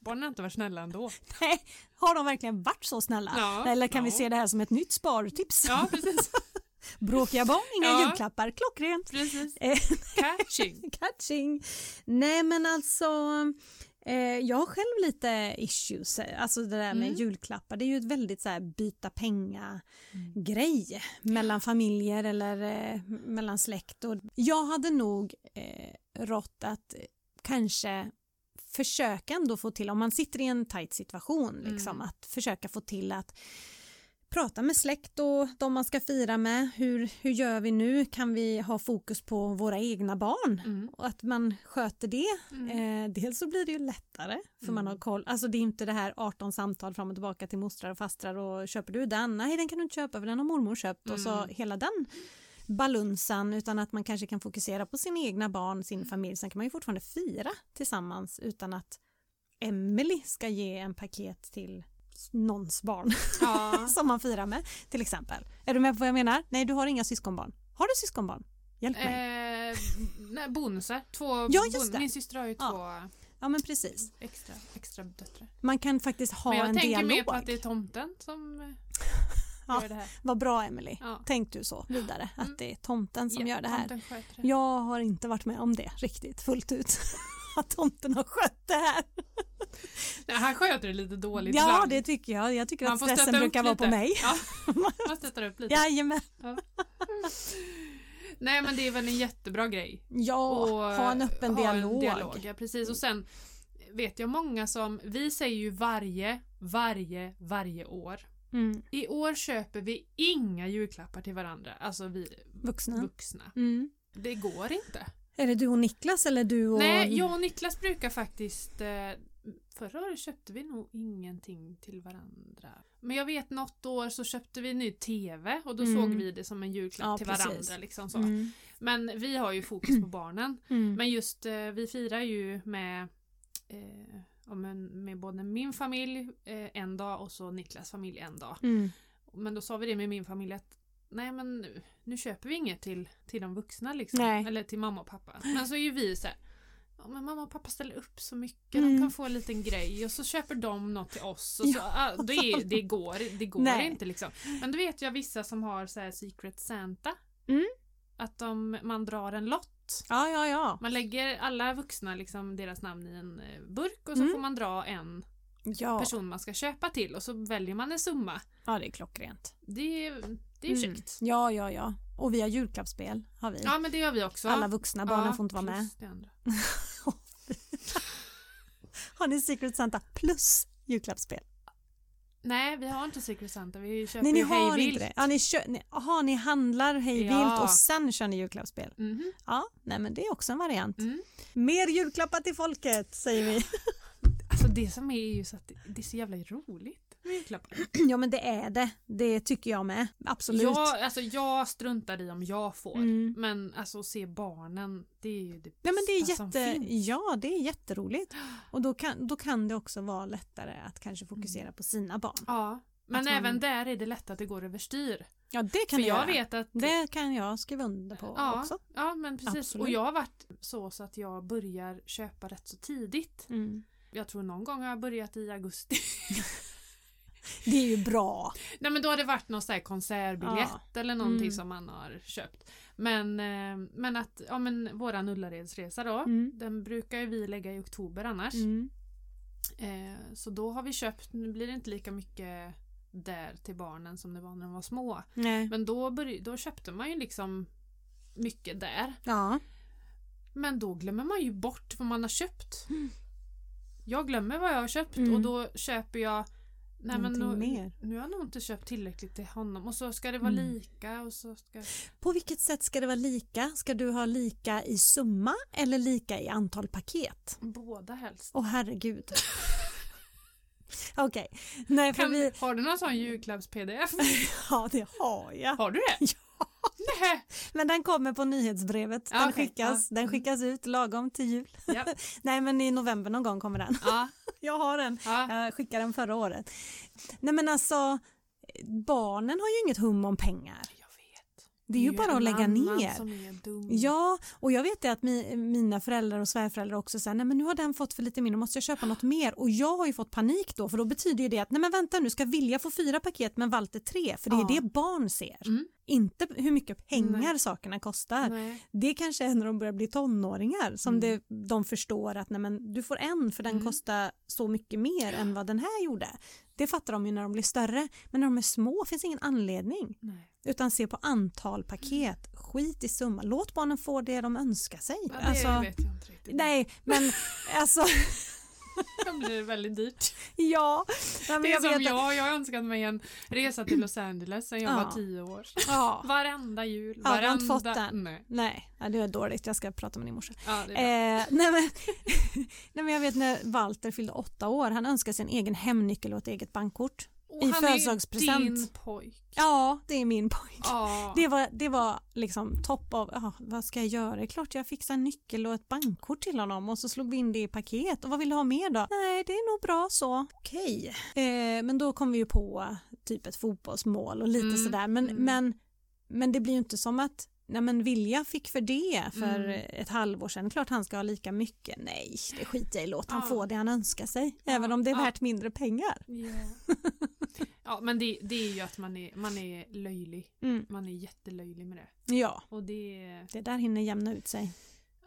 Speaker 2: Barnen har inte varit snälla ändå.
Speaker 1: Nej, har de verkligen varit så snälla?
Speaker 2: Ja,
Speaker 1: Eller kan vi
Speaker 2: ja.
Speaker 1: se det här som ett nytt spartips?
Speaker 2: Ja, precis.
Speaker 1: Bråkiga barn, inga
Speaker 2: Ja.
Speaker 1: julklappar, klockrent.
Speaker 2: precis.
Speaker 1: Eh,
Speaker 2: Catching.
Speaker 1: Catching! Nej men alltså eh, jag har själv lite issues, eh, alltså det där med
Speaker 2: Mm.
Speaker 1: julklappar, det är ju ett väldigt så här byta penga grej mellan familjer eller eh, mellan släkt. Och jag hade nog eh, rått att eh, kanske försöka ändå få till, om man sitter i en tajt situation, liksom,
Speaker 2: Mm.
Speaker 1: att försöka få till att prata med släkt och de man ska fira med. Hur, hur gör vi nu? Kan vi ha fokus på våra egna barn?
Speaker 2: Mm.
Speaker 1: Och att man sköter det.
Speaker 2: Mm.
Speaker 1: Eh, dels så blir det ju lättare för man har
Speaker 2: Mm.
Speaker 1: koll. Alltså det är inte det här 18 samtal fram och tillbaka till mostrar och fastrar och köper du den? Nej den kan du inte köpa för den har mormor köpt och så
Speaker 2: Mm.
Speaker 1: hela den balunsan utan att man kanske kan fokusera på sina egna barn,
Speaker 2: Mm.
Speaker 1: sin familj. Sen kan man ju fortfarande fira tillsammans utan att Emily ska ge en paket till någons barn
Speaker 2: Ja.
Speaker 1: som man firar med till exempel. Är du med på vad jag menar? Nej du har inga syskonbarn. Har du syskonbarn? Hjälp mig.
Speaker 2: Eh, nej, bonusar. Två
Speaker 1: Ja, just
Speaker 2: bon-
Speaker 1: det.
Speaker 2: Min syster har ju
Speaker 1: Ja.
Speaker 2: två
Speaker 1: Ja men precis.
Speaker 2: extra, extra döttrar.
Speaker 1: Man kan faktiskt ha
Speaker 2: Men jag
Speaker 1: en
Speaker 2: tänker
Speaker 1: dialog.
Speaker 2: mer på att det är tomten som eh,
Speaker 1: Ja.
Speaker 2: gör det här.
Speaker 1: Vad bra Emily.
Speaker 2: Ja.
Speaker 1: Tänk du så vidare, att
Speaker 2: Mm.
Speaker 1: det är tomten som
Speaker 2: Ja,
Speaker 1: gör det här.
Speaker 2: Tomten sköter det.
Speaker 1: Jag har inte varit med om det riktigt fullt ut. att tomten har skött det här.
Speaker 2: Nej, han sköter det lite dåligt
Speaker 1: Ja,
Speaker 2: ibland.
Speaker 1: det tycker jag. Jag tycker
Speaker 2: Man
Speaker 1: att
Speaker 2: får stötta
Speaker 1: stressen
Speaker 2: upp
Speaker 1: brukar vara på
Speaker 2: lite.
Speaker 1: mig.
Speaker 2: Ja, man stöttar upp lite.
Speaker 1: Jajamän.
Speaker 2: Nej men det är väl en jättebra grej.
Speaker 1: Ja, ha en öppen
Speaker 2: ha
Speaker 1: dialog.
Speaker 2: ja, precis. Och sen vet jag många som, vi säger ju varje, varje, varje år.
Speaker 1: Mm.
Speaker 2: I år köper vi inga julklappar till varandra, alltså vi
Speaker 1: Vuxna.
Speaker 2: vuxna.
Speaker 1: Mm.
Speaker 2: Det går inte.
Speaker 1: Är det du och Niklas eller du och...
Speaker 2: Nej, jag och Niklas brukar faktiskt... Eh, förra året köpte vi nog ingenting till varandra. Men jag vet något år så köpte vi en ny TV och då
Speaker 1: Mm.
Speaker 2: såg vi det som en julklapp
Speaker 1: Ja,
Speaker 2: till
Speaker 1: precis.
Speaker 2: varandra. Liksom så.
Speaker 1: Mm.
Speaker 2: Men vi har ju fokus på barnen.
Speaker 1: Mm.
Speaker 2: Men just eh, vi firar ju med, eh, ja, men med både min familj eh, en dag och så Niklas familj en dag.
Speaker 1: Mm.
Speaker 2: Men då sa vi det med min familj att nej men nu, nu köper vi inget till, till de vuxna liksom.
Speaker 1: Nej.
Speaker 2: Eller till mamma och pappa. Men så är ju vi så här, ja, men mamma och pappa ställer upp så mycket, de
Speaker 1: Mm.
Speaker 2: kan få en liten grej och så köper de något till oss. Och så, ah, det, är, det går, det går
Speaker 1: Nej.
Speaker 2: inte liksom. Men då vet jag vissa som har så här Secret Santa.
Speaker 1: Mm.
Speaker 2: Att de, man drar en lott.
Speaker 1: Ja, ja, ja.
Speaker 2: Man lägger alla vuxna liksom deras namn i en eh, burk och så
Speaker 1: Mm.
Speaker 2: får man dra en
Speaker 1: Ja,
Speaker 2: person man ska köpa till och så väljer man en summa.
Speaker 1: ja det är klockrent.
Speaker 2: Det, är- det är
Speaker 1: Mm.
Speaker 2: käckt.
Speaker 1: Ja, ja, ja. Och vi har julklappsspel, har vi.
Speaker 2: Ja men det gör vi också.
Speaker 1: Alla vuxna, barnen får inte vara med.
Speaker 2: plus det andra.
Speaker 1: Har ni Secret Santa plus julklappsspel?
Speaker 2: Nej vi har inte Secret Santa, vi köper
Speaker 1: Nej, ni
Speaker 2: ju
Speaker 1: har
Speaker 2: Hej
Speaker 1: inte
Speaker 2: Vilt.
Speaker 1: det. Ja, ni, kö- ni, aha, ni handlar hej
Speaker 2: Ja.
Speaker 1: vilt och sen kör ni julklappsspel.
Speaker 2: Mhm.
Speaker 1: Ja, nej men det är också en variant.
Speaker 2: Mm.
Speaker 1: Mer julklappar till folket säger vi.
Speaker 2: Alltså det som är ju så att det- det är så jävla roligt med julklappar.
Speaker 1: ja men det är det. Det tycker jag med. Absolut.
Speaker 2: Jag, alltså, jag struntar i om jag får.
Speaker 1: Mm.
Speaker 2: Men alltså att se barnen, det är ju det
Speaker 1: Nej, men det är
Speaker 2: bästa som
Speaker 1: jätte,
Speaker 2: finns.
Speaker 1: ja, det är jätteroligt. Och då kan, då kan det också vara lättare att kanske fokusera på sina barn.
Speaker 2: Ja. Men
Speaker 1: Att man-
Speaker 2: även där är det lätt att det går överstyr.
Speaker 1: Ja, det
Speaker 2: För
Speaker 1: kan
Speaker 2: jag vet att
Speaker 1: Det kan jag skriva under på
Speaker 2: ja,
Speaker 1: också.
Speaker 2: Ja men precis.
Speaker 1: Absolut.
Speaker 2: Och jag har varit så, så att jag börjar köpa rätt så tidigt.
Speaker 1: Mm.
Speaker 2: Jag tror någon gång har jag börjat i augusti.
Speaker 1: Det är ju bra.
Speaker 2: Nej men då har det varit någon sån här konsertbiljett eller någonting
Speaker 1: Mm.
Speaker 2: som man har köpt. Men, eh, men att, ja men våran Ullaredsresa då,
Speaker 1: Mm.
Speaker 2: den brukar ju vi lägga i oktober annars.
Speaker 1: Mm.
Speaker 2: Eh, så då har vi köpt, nu blir det inte lika mycket där till barnen som det var när de var små.
Speaker 1: Nej.
Speaker 2: Men då, börj- då köpte man ju liksom mycket där.
Speaker 1: Ja.
Speaker 2: Men då glömmer man ju bort vad man har köpt. Jag glömmer vad jag har köpt
Speaker 1: Mm.
Speaker 2: och då köper jag Nej, men nu,
Speaker 1: Någonting mer.
Speaker 2: nu har jag nog inte köpt tillräckligt till honom och så ska det vara
Speaker 1: Mm.
Speaker 2: lika och så ska...
Speaker 1: På vilket sätt ska det vara lika? Ska du ha lika i summa eller lika i antal paket?
Speaker 2: Båda helst.
Speaker 1: Åh herregud. Okej, nej för
Speaker 2: Kan,
Speaker 1: vi...
Speaker 2: Har du någon sån julklapps-pdf?
Speaker 1: Ja det har jag.
Speaker 2: Har du det?
Speaker 1: Ja.
Speaker 2: Nej.
Speaker 1: Men den kommer på nyhetsbrevet. Den,
Speaker 2: Ja, okej.
Speaker 1: skickas,
Speaker 2: Ja.
Speaker 1: den
Speaker 2: Mm.
Speaker 1: skickas ut lagom till jul.
Speaker 2: Ja.
Speaker 1: Nej men i november någon gång kommer den.
Speaker 2: Ja.
Speaker 1: Jag har den.
Speaker 2: Ja.
Speaker 1: Jag skickade den förra året. Nej men alltså, barnen har ju inget hum om pengar.
Speaker 2: Jag vet.
Speaker 1: Det är ju bara att
Speaker 2: en
Speaker 1: lägga
Speaker 2: annan
Speaker 1: ner.
Speaker 2: Som är dum.
Speaker 1: Ja, och jag vet det att mi, mina föräldrar och svärföräldrar också säger nej men nu har den fått för lite mindre, måste jag köpa något mer? Och jag har ju fått panik då för då betyder ju det att nej men vänta nu ska Vilja få fyra paket men Walter tre för det är
Speaker 2: Ja.
Speaker 1: det barn ser.
Speaker 2: Mm.
Speaker 1: Inte hur mycket pengar
Speaker 2: Nej.
Speaker 1: sakerna kostar.
Speaker 2: Nej.
Speaker 1: Det kanske är när de börjar bli tonåringar som
Speaker 2: Mm.
Speaker 1: det, de förstår att nej men du får en för den
Speaker 2: Mm.
Speaker 1: kostar så mycket mer än vad den här gjorde. Det fattar de ju när de blir större men när de är små finns ingen anledning.
Speaker 2: Nej.
Speaker 1: Utan se på antal paket, skit i summa, låt barnen få det de önskar sig.
Speaker 2: Ja, det
Speaker 1: alltså,
Speaker 2: vet jag inte riktigt.
Speaker 1: nej, men alltså
Speaker 2: Då blir det väldigt dyrt.
Speaker 1: ja. Men
Speaker 2: Det är
Speaker 1: jag
Speaker 2: som
Speaker 1: vet att,
Speaker 2: jag, jag har önskat mig en resa till Los Angeles sen jag
Speaker 1: Ja.
Speaker 2: var tio år.
Speaker 1: ja,
Speaker 2: Varenda jul,
Speaker 1: Ja, du har
Speaker 2: varenda...
Speaker 1: inte fått den.
Speaker 2: Nej.
Speaker 1: nej, ja, det är dåligt, jag ska prata med din morsa.
Speaker 2: Ja, det är bra.
Speaker 1: Eh, nej, men, nej men jag vet när Walter fyllde åtta år, han önskade sig en egen hemnyckel och ett eget bankkort.
Speaker 2: Och
Speaker 1: i
Speaker 2: han är ju
Speaker 1: födelsedagspresent.
Speaker 2: din pojk.
Speaker 1: Ja, det är min pojk.
Speaker 2: Ja.
Speaker 1: Det var, det var liksom topp av, ah, vad ska jag göra? Det är klart jag fixar en nyckel och ett bankkort till honom och så slog vi in det i paket. Och vad vill du ha mer då? Nej, det är nog bra så. Okej. Eh, men då kom vi ju på typ ett fotbollsmål och lite
Speaker 2: Mm,
Speaker 1: sådär. Men,
Speaker 2: mm.
Speaker 1: men, men det blir ju inte som att Nej men Vilja fick för det för
Speaker 2: Mm.
Speaker 1: ett halvår sedan, klart han ska ha lika mycket. Nej, det skiter jag i, låt han
Speaker 2: Ja.
Speaker 1: få det han önskar sig.
Speaker 2: Ja,
Speaker 1: Även om det är
Speaker 2: ja.
Speaker 1: värt mindre pengar.
Speaker 2: Ja. ja, men det, det är ju att man är, man är löjlig.
Speaker 1: Mm.
Speaker 2: Man är jättelöjlig med det.
Speaker 1: Ja,
Speaker 2: Och det...
Speaker 1: det där hinner jämna ut sig.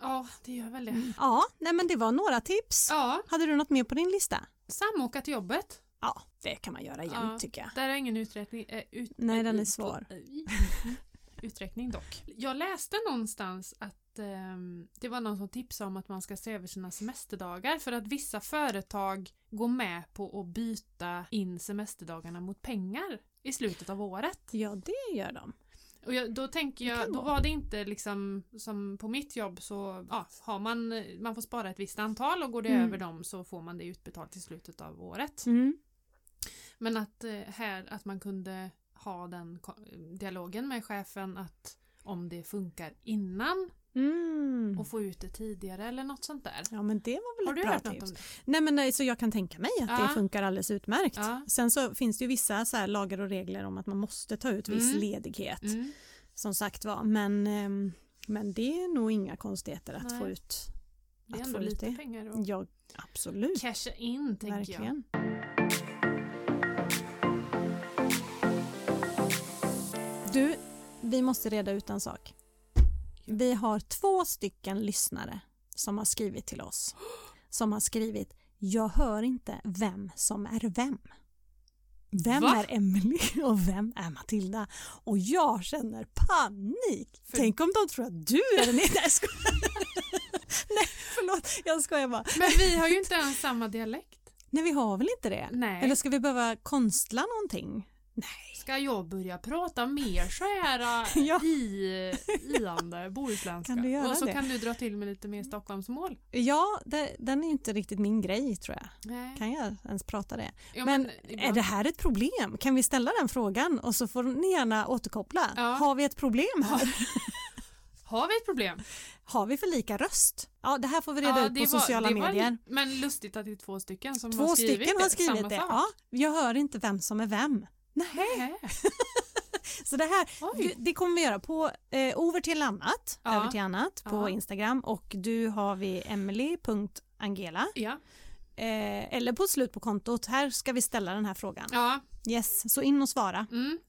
Speaker 2: Ja, det gör väl det.
Speaker 1: Ja, nej men det var några tips.
Speaker 2: Mm. Ja,
Speaker 1: Hade du något mer på din lista?
Speaker 2: samåka till jobbet.
Speaker 1: Ja, det kan man göra jämt
Speaker 2: Ja.
Speaker 1: tycker jag.
Speaker 2: Där är ingen uträkning. eh, ut,
Speaker 1: Nej, den är
Speaker 2: ut-
Speaker 1: svår.
Speaker 2: Uträkning dock. Jag läste någonstans att ehm, det var någon som tipsade om att man ska se över sina semesterdagar för att vissa företag går med på att byta in semesterdagarna mot pengar i slutet av året.
Speaker 1: Ja, det gör de.
Speaker 2: Och jag, då tänker
Speaker 1: Det
Speaker 2: jag,
Speaker 1: kan
Speaker 2: då
Speaker 1: vara.
Speaker 2: var det inte liksom som på mitt jobb så ja, har man, man får spara ett visst antal och går det
Speaker 1: Mm.
Speaker 2: över dem så får man det utbetalt i slutet av året. Men att eh, här, att man kunde ha den ko- dialogen med chefen att om det funkar innan
Speaker 1: Mm.
Speaker 2: och få ut det tidigare eller något sånt där.
Speaker 1: Ja, men det var väl
Speaker 2: Har du
Speaker 1: ett bra
Speaker 2: hört något
Speaker 1: tips.
Speaker 2: om det?
Speaker 1: Nej, men nej, så jag kan tänka mig att
Speaker 2: Ja.
Speaker 1: det funkar alldeles utmärkt.
Speaker 2: Ja.
Speaker 1: Sen så finns det ju vissa så här lagar och regler om att man måste ta ut viss
Speaker 2: Mm.
Speaker 1: ledighet,
Speaker 2: Mm.
Speaker 1: som sagt var. Men, ehm, men det är nog inga konstigheter att
Speaker 2: Nej.
Speaker 1: få ut.
Speaker 2: Det är
Speaker 1: Att
Speaker 2: ändå
Speaker 1: få
Speaker 2: lite
Speaker 1: lite-
Speaker 2: pengar att
Speaker 1: Ja, absolut.
Speaker 2: casha in tänker jag.
Speaker 1: Verkligen. Du, vi måste reda ut en sak. Vi har två stycken lyssnare som har skrivit till oss. Som har skrivit “Jag hör inte vem som är vem”. Vem
Speaker 2: Va?
Speaker 1: är Emily och vem är Matilda? Och jag känner panik.
Speaker 2: För-
Speaker 1: Tänk om de tror att du är den ena. Nej, jag skojar. Nej, förlåt. Jag skojar bara.
Speaker 2: Men vi har ju inte ens samma dialekt.
Speaker 1: Nej, vi har väl inte det?
Speaker 2: Nej.
Speaker 1: Eller ska vi behöva konstla någonting? Nej.
Speaker 2: Ska jag börja prata mer så här äh,
Speaker 1: Ja.
Speaker 2: i iande bohuslänska?
Speaker 1: Kan du göra
Speaker 2: Och så
Speaker 1: det?
Speaker 2: kan du dra till med lite mer Stockholmsmål.
Speaker 1: Ja, det, den är ju inte riktigt min grej tror jag.
Speaker 2: Nej.
Speaker 1: Kan jag ens prata det?
Speaker 2: Ja,
Speaker 1: men
Speaker 2: ibland-
Speaker 1: Är det här ett problem? Kan vi ställa den frågan och så får ni gärna återkoppla.
Speaker 2: Ja.
Speaker 1: Har vi ett problem här?
Speaker 2: Har vi ett problem?
Speaker 1: Har vi för lika röst? Ja, det här får vi reda ut på
Speaker 2: det var-
Speaker 1: sociala
Speaker 2: det var
Speaker 1: medier.
Speaker 2: li- men lustigt att det är två stycken som
Speaker 1: Två
Speaker 2: har skrivit
Speaker 1: stycken har skrivit
Speaker 2: samma
Speaker 1: det.
Speaker 2: sak.
Speaker 1: Ja, jag hör inte vem som är vem.
Speaker 2: Nej.
Speaker 1: Så det här,
Speaker 2: Oj.
Speaker 1: det kommer vi göra på eh, over till annat,
Speaker 2: Ja.
Speaker 1: över till annat på
Speaker 2: Ja.
Speaker 1: Instagram och du har vi emily.angela
Speaker 2: Ja.
Speaker 1: Eh, eller på slut på kontot. Här ska vi ställa den här frågan.
Speaker 2: Ja.
Speaker 1: Yes, så in och svara.
Speaker 2: Mm.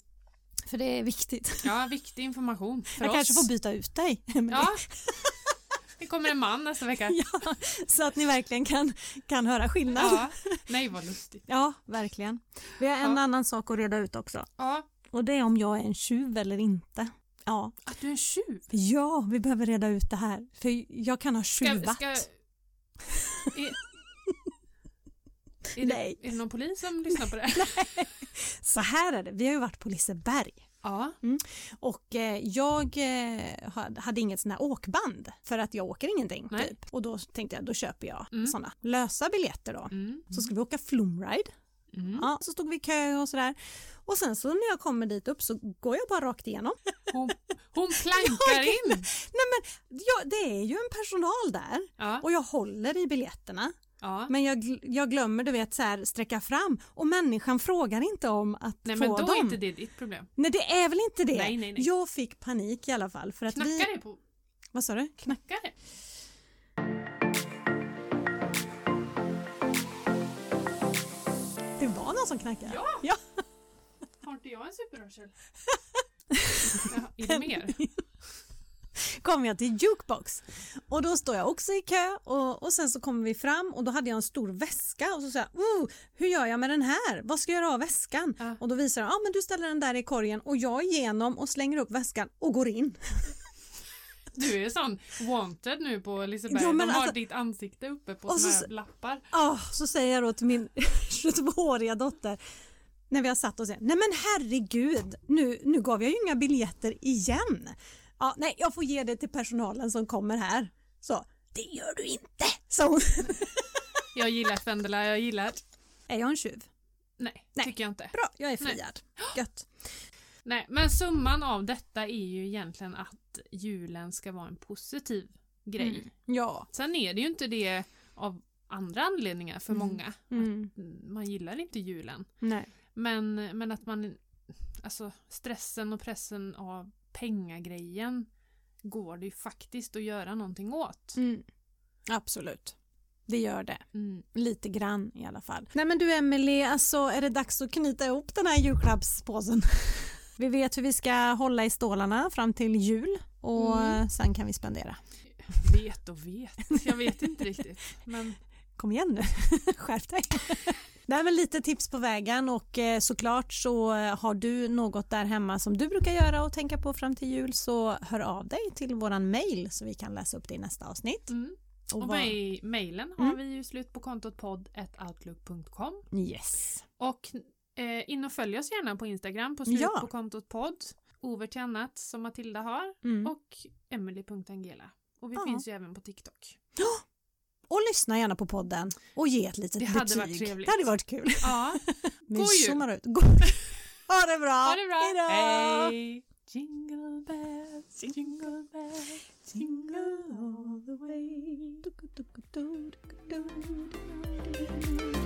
Speaker 1: För det är viktigt.
Speaker 2: ja, viktig information för
Speaker 1: Jag
Speaker 2: oss.
Speaker 1: kanske får byta ut dig. Emelie.
Speaker 2: Ja. Det kommer en man nästa vecka.
Speaker 1: Ja, så att ni verkligen kan, kan höra skillnad. Ja.
Speaker 2: Ja. Nej, vad lustigt.
Speaker 1: verkligen. Vi har en
Speaker 2: Ja.
Speaker 1: annan sak att reda ut också.
Speaker 2: Ja.
Speaker 1: Och det är om jag är en tjuv eller inte. Ja,
Speaker 2: Att du är en tjuv.
Speaker 1: ja vi behöver reda ut det här. För jag kan ha
Speaker 2: Ska,
Speaker 1: tjuvat.
Speaker 2: ska... Är, är, det,
Speaker 1: Nej.
Speaker 2: är det någon polis som lyssnar på det?
Speaker 1: Så här är det, vi har ju varit på Liseberg.
Speaker 2: Ja.
Speaker 1: Och eh, jag eh, ha- hade inget sån här åkband för att jag åker ingenting.
Speaker 2: Nej.
Speaker 1: Typ. Och då tänkte jag, då köper jag
Speaker 2: Mm.
Speaker 1: såna lösa biljetter då.
Speaker 2: Mm.
Speaker 1: Så skulle vi åka flumride.
Speaker 2: Mm.
Speaker 1: Ja, så stod vi i kö och sådär. Och sen så när jag kommer dit upp så går jag bara rakt igenom.
Speaker 2: Hon, hon plankar in.
Speaker 1: Ja, det är ju en personal där
Speaker 2: Ja.
Speaker 1: och jag håller i biljetterna.
Speaker 2: Ja.
Speaker 1: Men jag, gl- jag glömmer du vet så här sträcka fram och människan frågar inte om att
Speaker 2: Nej
Speaker 1: få
Speaker 2: men då
Speaker 1: dem.
Speaker 2: är inte det ditt problem.
Speaker 1: Nej det är väl inte det?
Speaker 2: Nej, nej, nej.
Speaker 1: Jag fick panik i alla fall för att vi...
Speaker 2: Knackar det på...
Speaker 1: Vad sa du? Knack...
Speaker 2: Knackar det?
Speaker 1: Det var någon som knackade?
Speaker 2: Ja.
Speaker 1: Ja.
Speaker 2: Har inte jag en superhörsel? Jaha, är det mer?
Speaker 1: kom jag till jukebox och då står jag också i kö och, och sen så kommer vi fram och då hade jag en stor väska och så säger jag, oh, hur gör jag med den här? Vad ska jag göra av väskan?
Speaker 2: Ja.
Speaker 1: Och då visar de, ja ah, men du ställer den där i korgen och jag är igenom och slänger upp väskan och går in.
Speaker 2: Du är sån wanted nu på Liseberg.
Speaker 1: Jo, men
Speaker 2: De har
Speaker 1: alltså-
Speaker 2: ditt ansikte uppe på
Speaker 1: Och
Speaker 2: såna
Speaker 1: så-
Speaker 2: här lappar.
Speaker 1: Ah, så säger jag då till min 22-åriga dotter när vi har satt oss igen, nej men herregud, nu, nu gav jag ju inga biljetter igen. Ja, nej, jag får ge det till personalen som kommer här. Så, det gör du inte, sa hon.
Speaker 2: Jag gillar Fendela, jag gillar...
Speaker 1: Är jag en tjuv?
Speaker 2: Nej,
Speaker 1: Nej.
Speaker 2: tycker jag inte.
Speaker 1: Bra, jag är
Speaker 2: Nej.
Speaker 1: friad. Gött.
Speaker 2: Nej, men summan av detta är ju egentligen att julen ska vara en positiv grej.
Speaker 1: Mm. Ja.
Speaker 2: Sen är det ju inte det av andra anledningar för
Speaker 1: Mm.
Speaker 2: många. Man gillar inte julen.
Speaker 1: Nej.
Speaker 2: Men, men att man... Alltså stressen och pressen av pengagrejen går det ju faktiskt att göra någonting åt.
Speaker 1: Mm. Absolut. Det gör det.
Speaker 2: Mm.
Speaker 1: Lite grann i alla fall. Nej men du Emelie, alltså är det dags att knyta ihop den här julklappspåsen? Vi vet hur vi ska hålla i stålarna fram till jul och
Speaker 2: Mm.
Speaker 1: sen kan vi spendera.
Speaker 2: Vet och vet. Jag vet inte riktigt. Men
Speaker 1: Kom igen nu, skärp dig. Nej men lite tips på vägen och eh, såklart så eh, har du något där hemma som du brukar göra och tänka på fram till jul så hör av dig till våran mail så vi kan läsa upp det i nästa avsnitt.
Speaker 2: mm.
Speaker 1: Och
Speaker 2: Och
Speaker 1: vad-
Speaker 2: mej- mejlen har
Speaker 1: Mm.
Speaker 2: vi ju slut på kontot podd.outlook.com
Speaker 1: Yes.
Speaker 2: Och eh, in och följ oss gärna på Instagram på slut
Speaker 1: Ja.
Speaker 2: på kontot podd. Over till annat som Matilda har
Speaker 1: Mm. Och,
Speaker 2: och Emily.angela. Och vi
Speaker 1: Ja.
Speaker 2: finns ju även på TikTok.
Speaker 1: lyssna gärna på podden och ge ett litet
Speaker 2: Det
Speaker 1: betyg.
Speaker 2: hade varit trevligt.
Speaker 1: Det hade varit kul.
Speaker 2: Ja,
Speaker 1: Vi
Speaker 2: God jul.
Speaker 1: zoomar ut. God. Ha det bra!
Speaker 2: ha det
Speaker 1: Hejdå.
Speaker 2: bra! Hej! Jingle bells, jingle bells,
Speaker 1: Jingle all the way. Du-gu-du-gu-du, du-gu-du-du.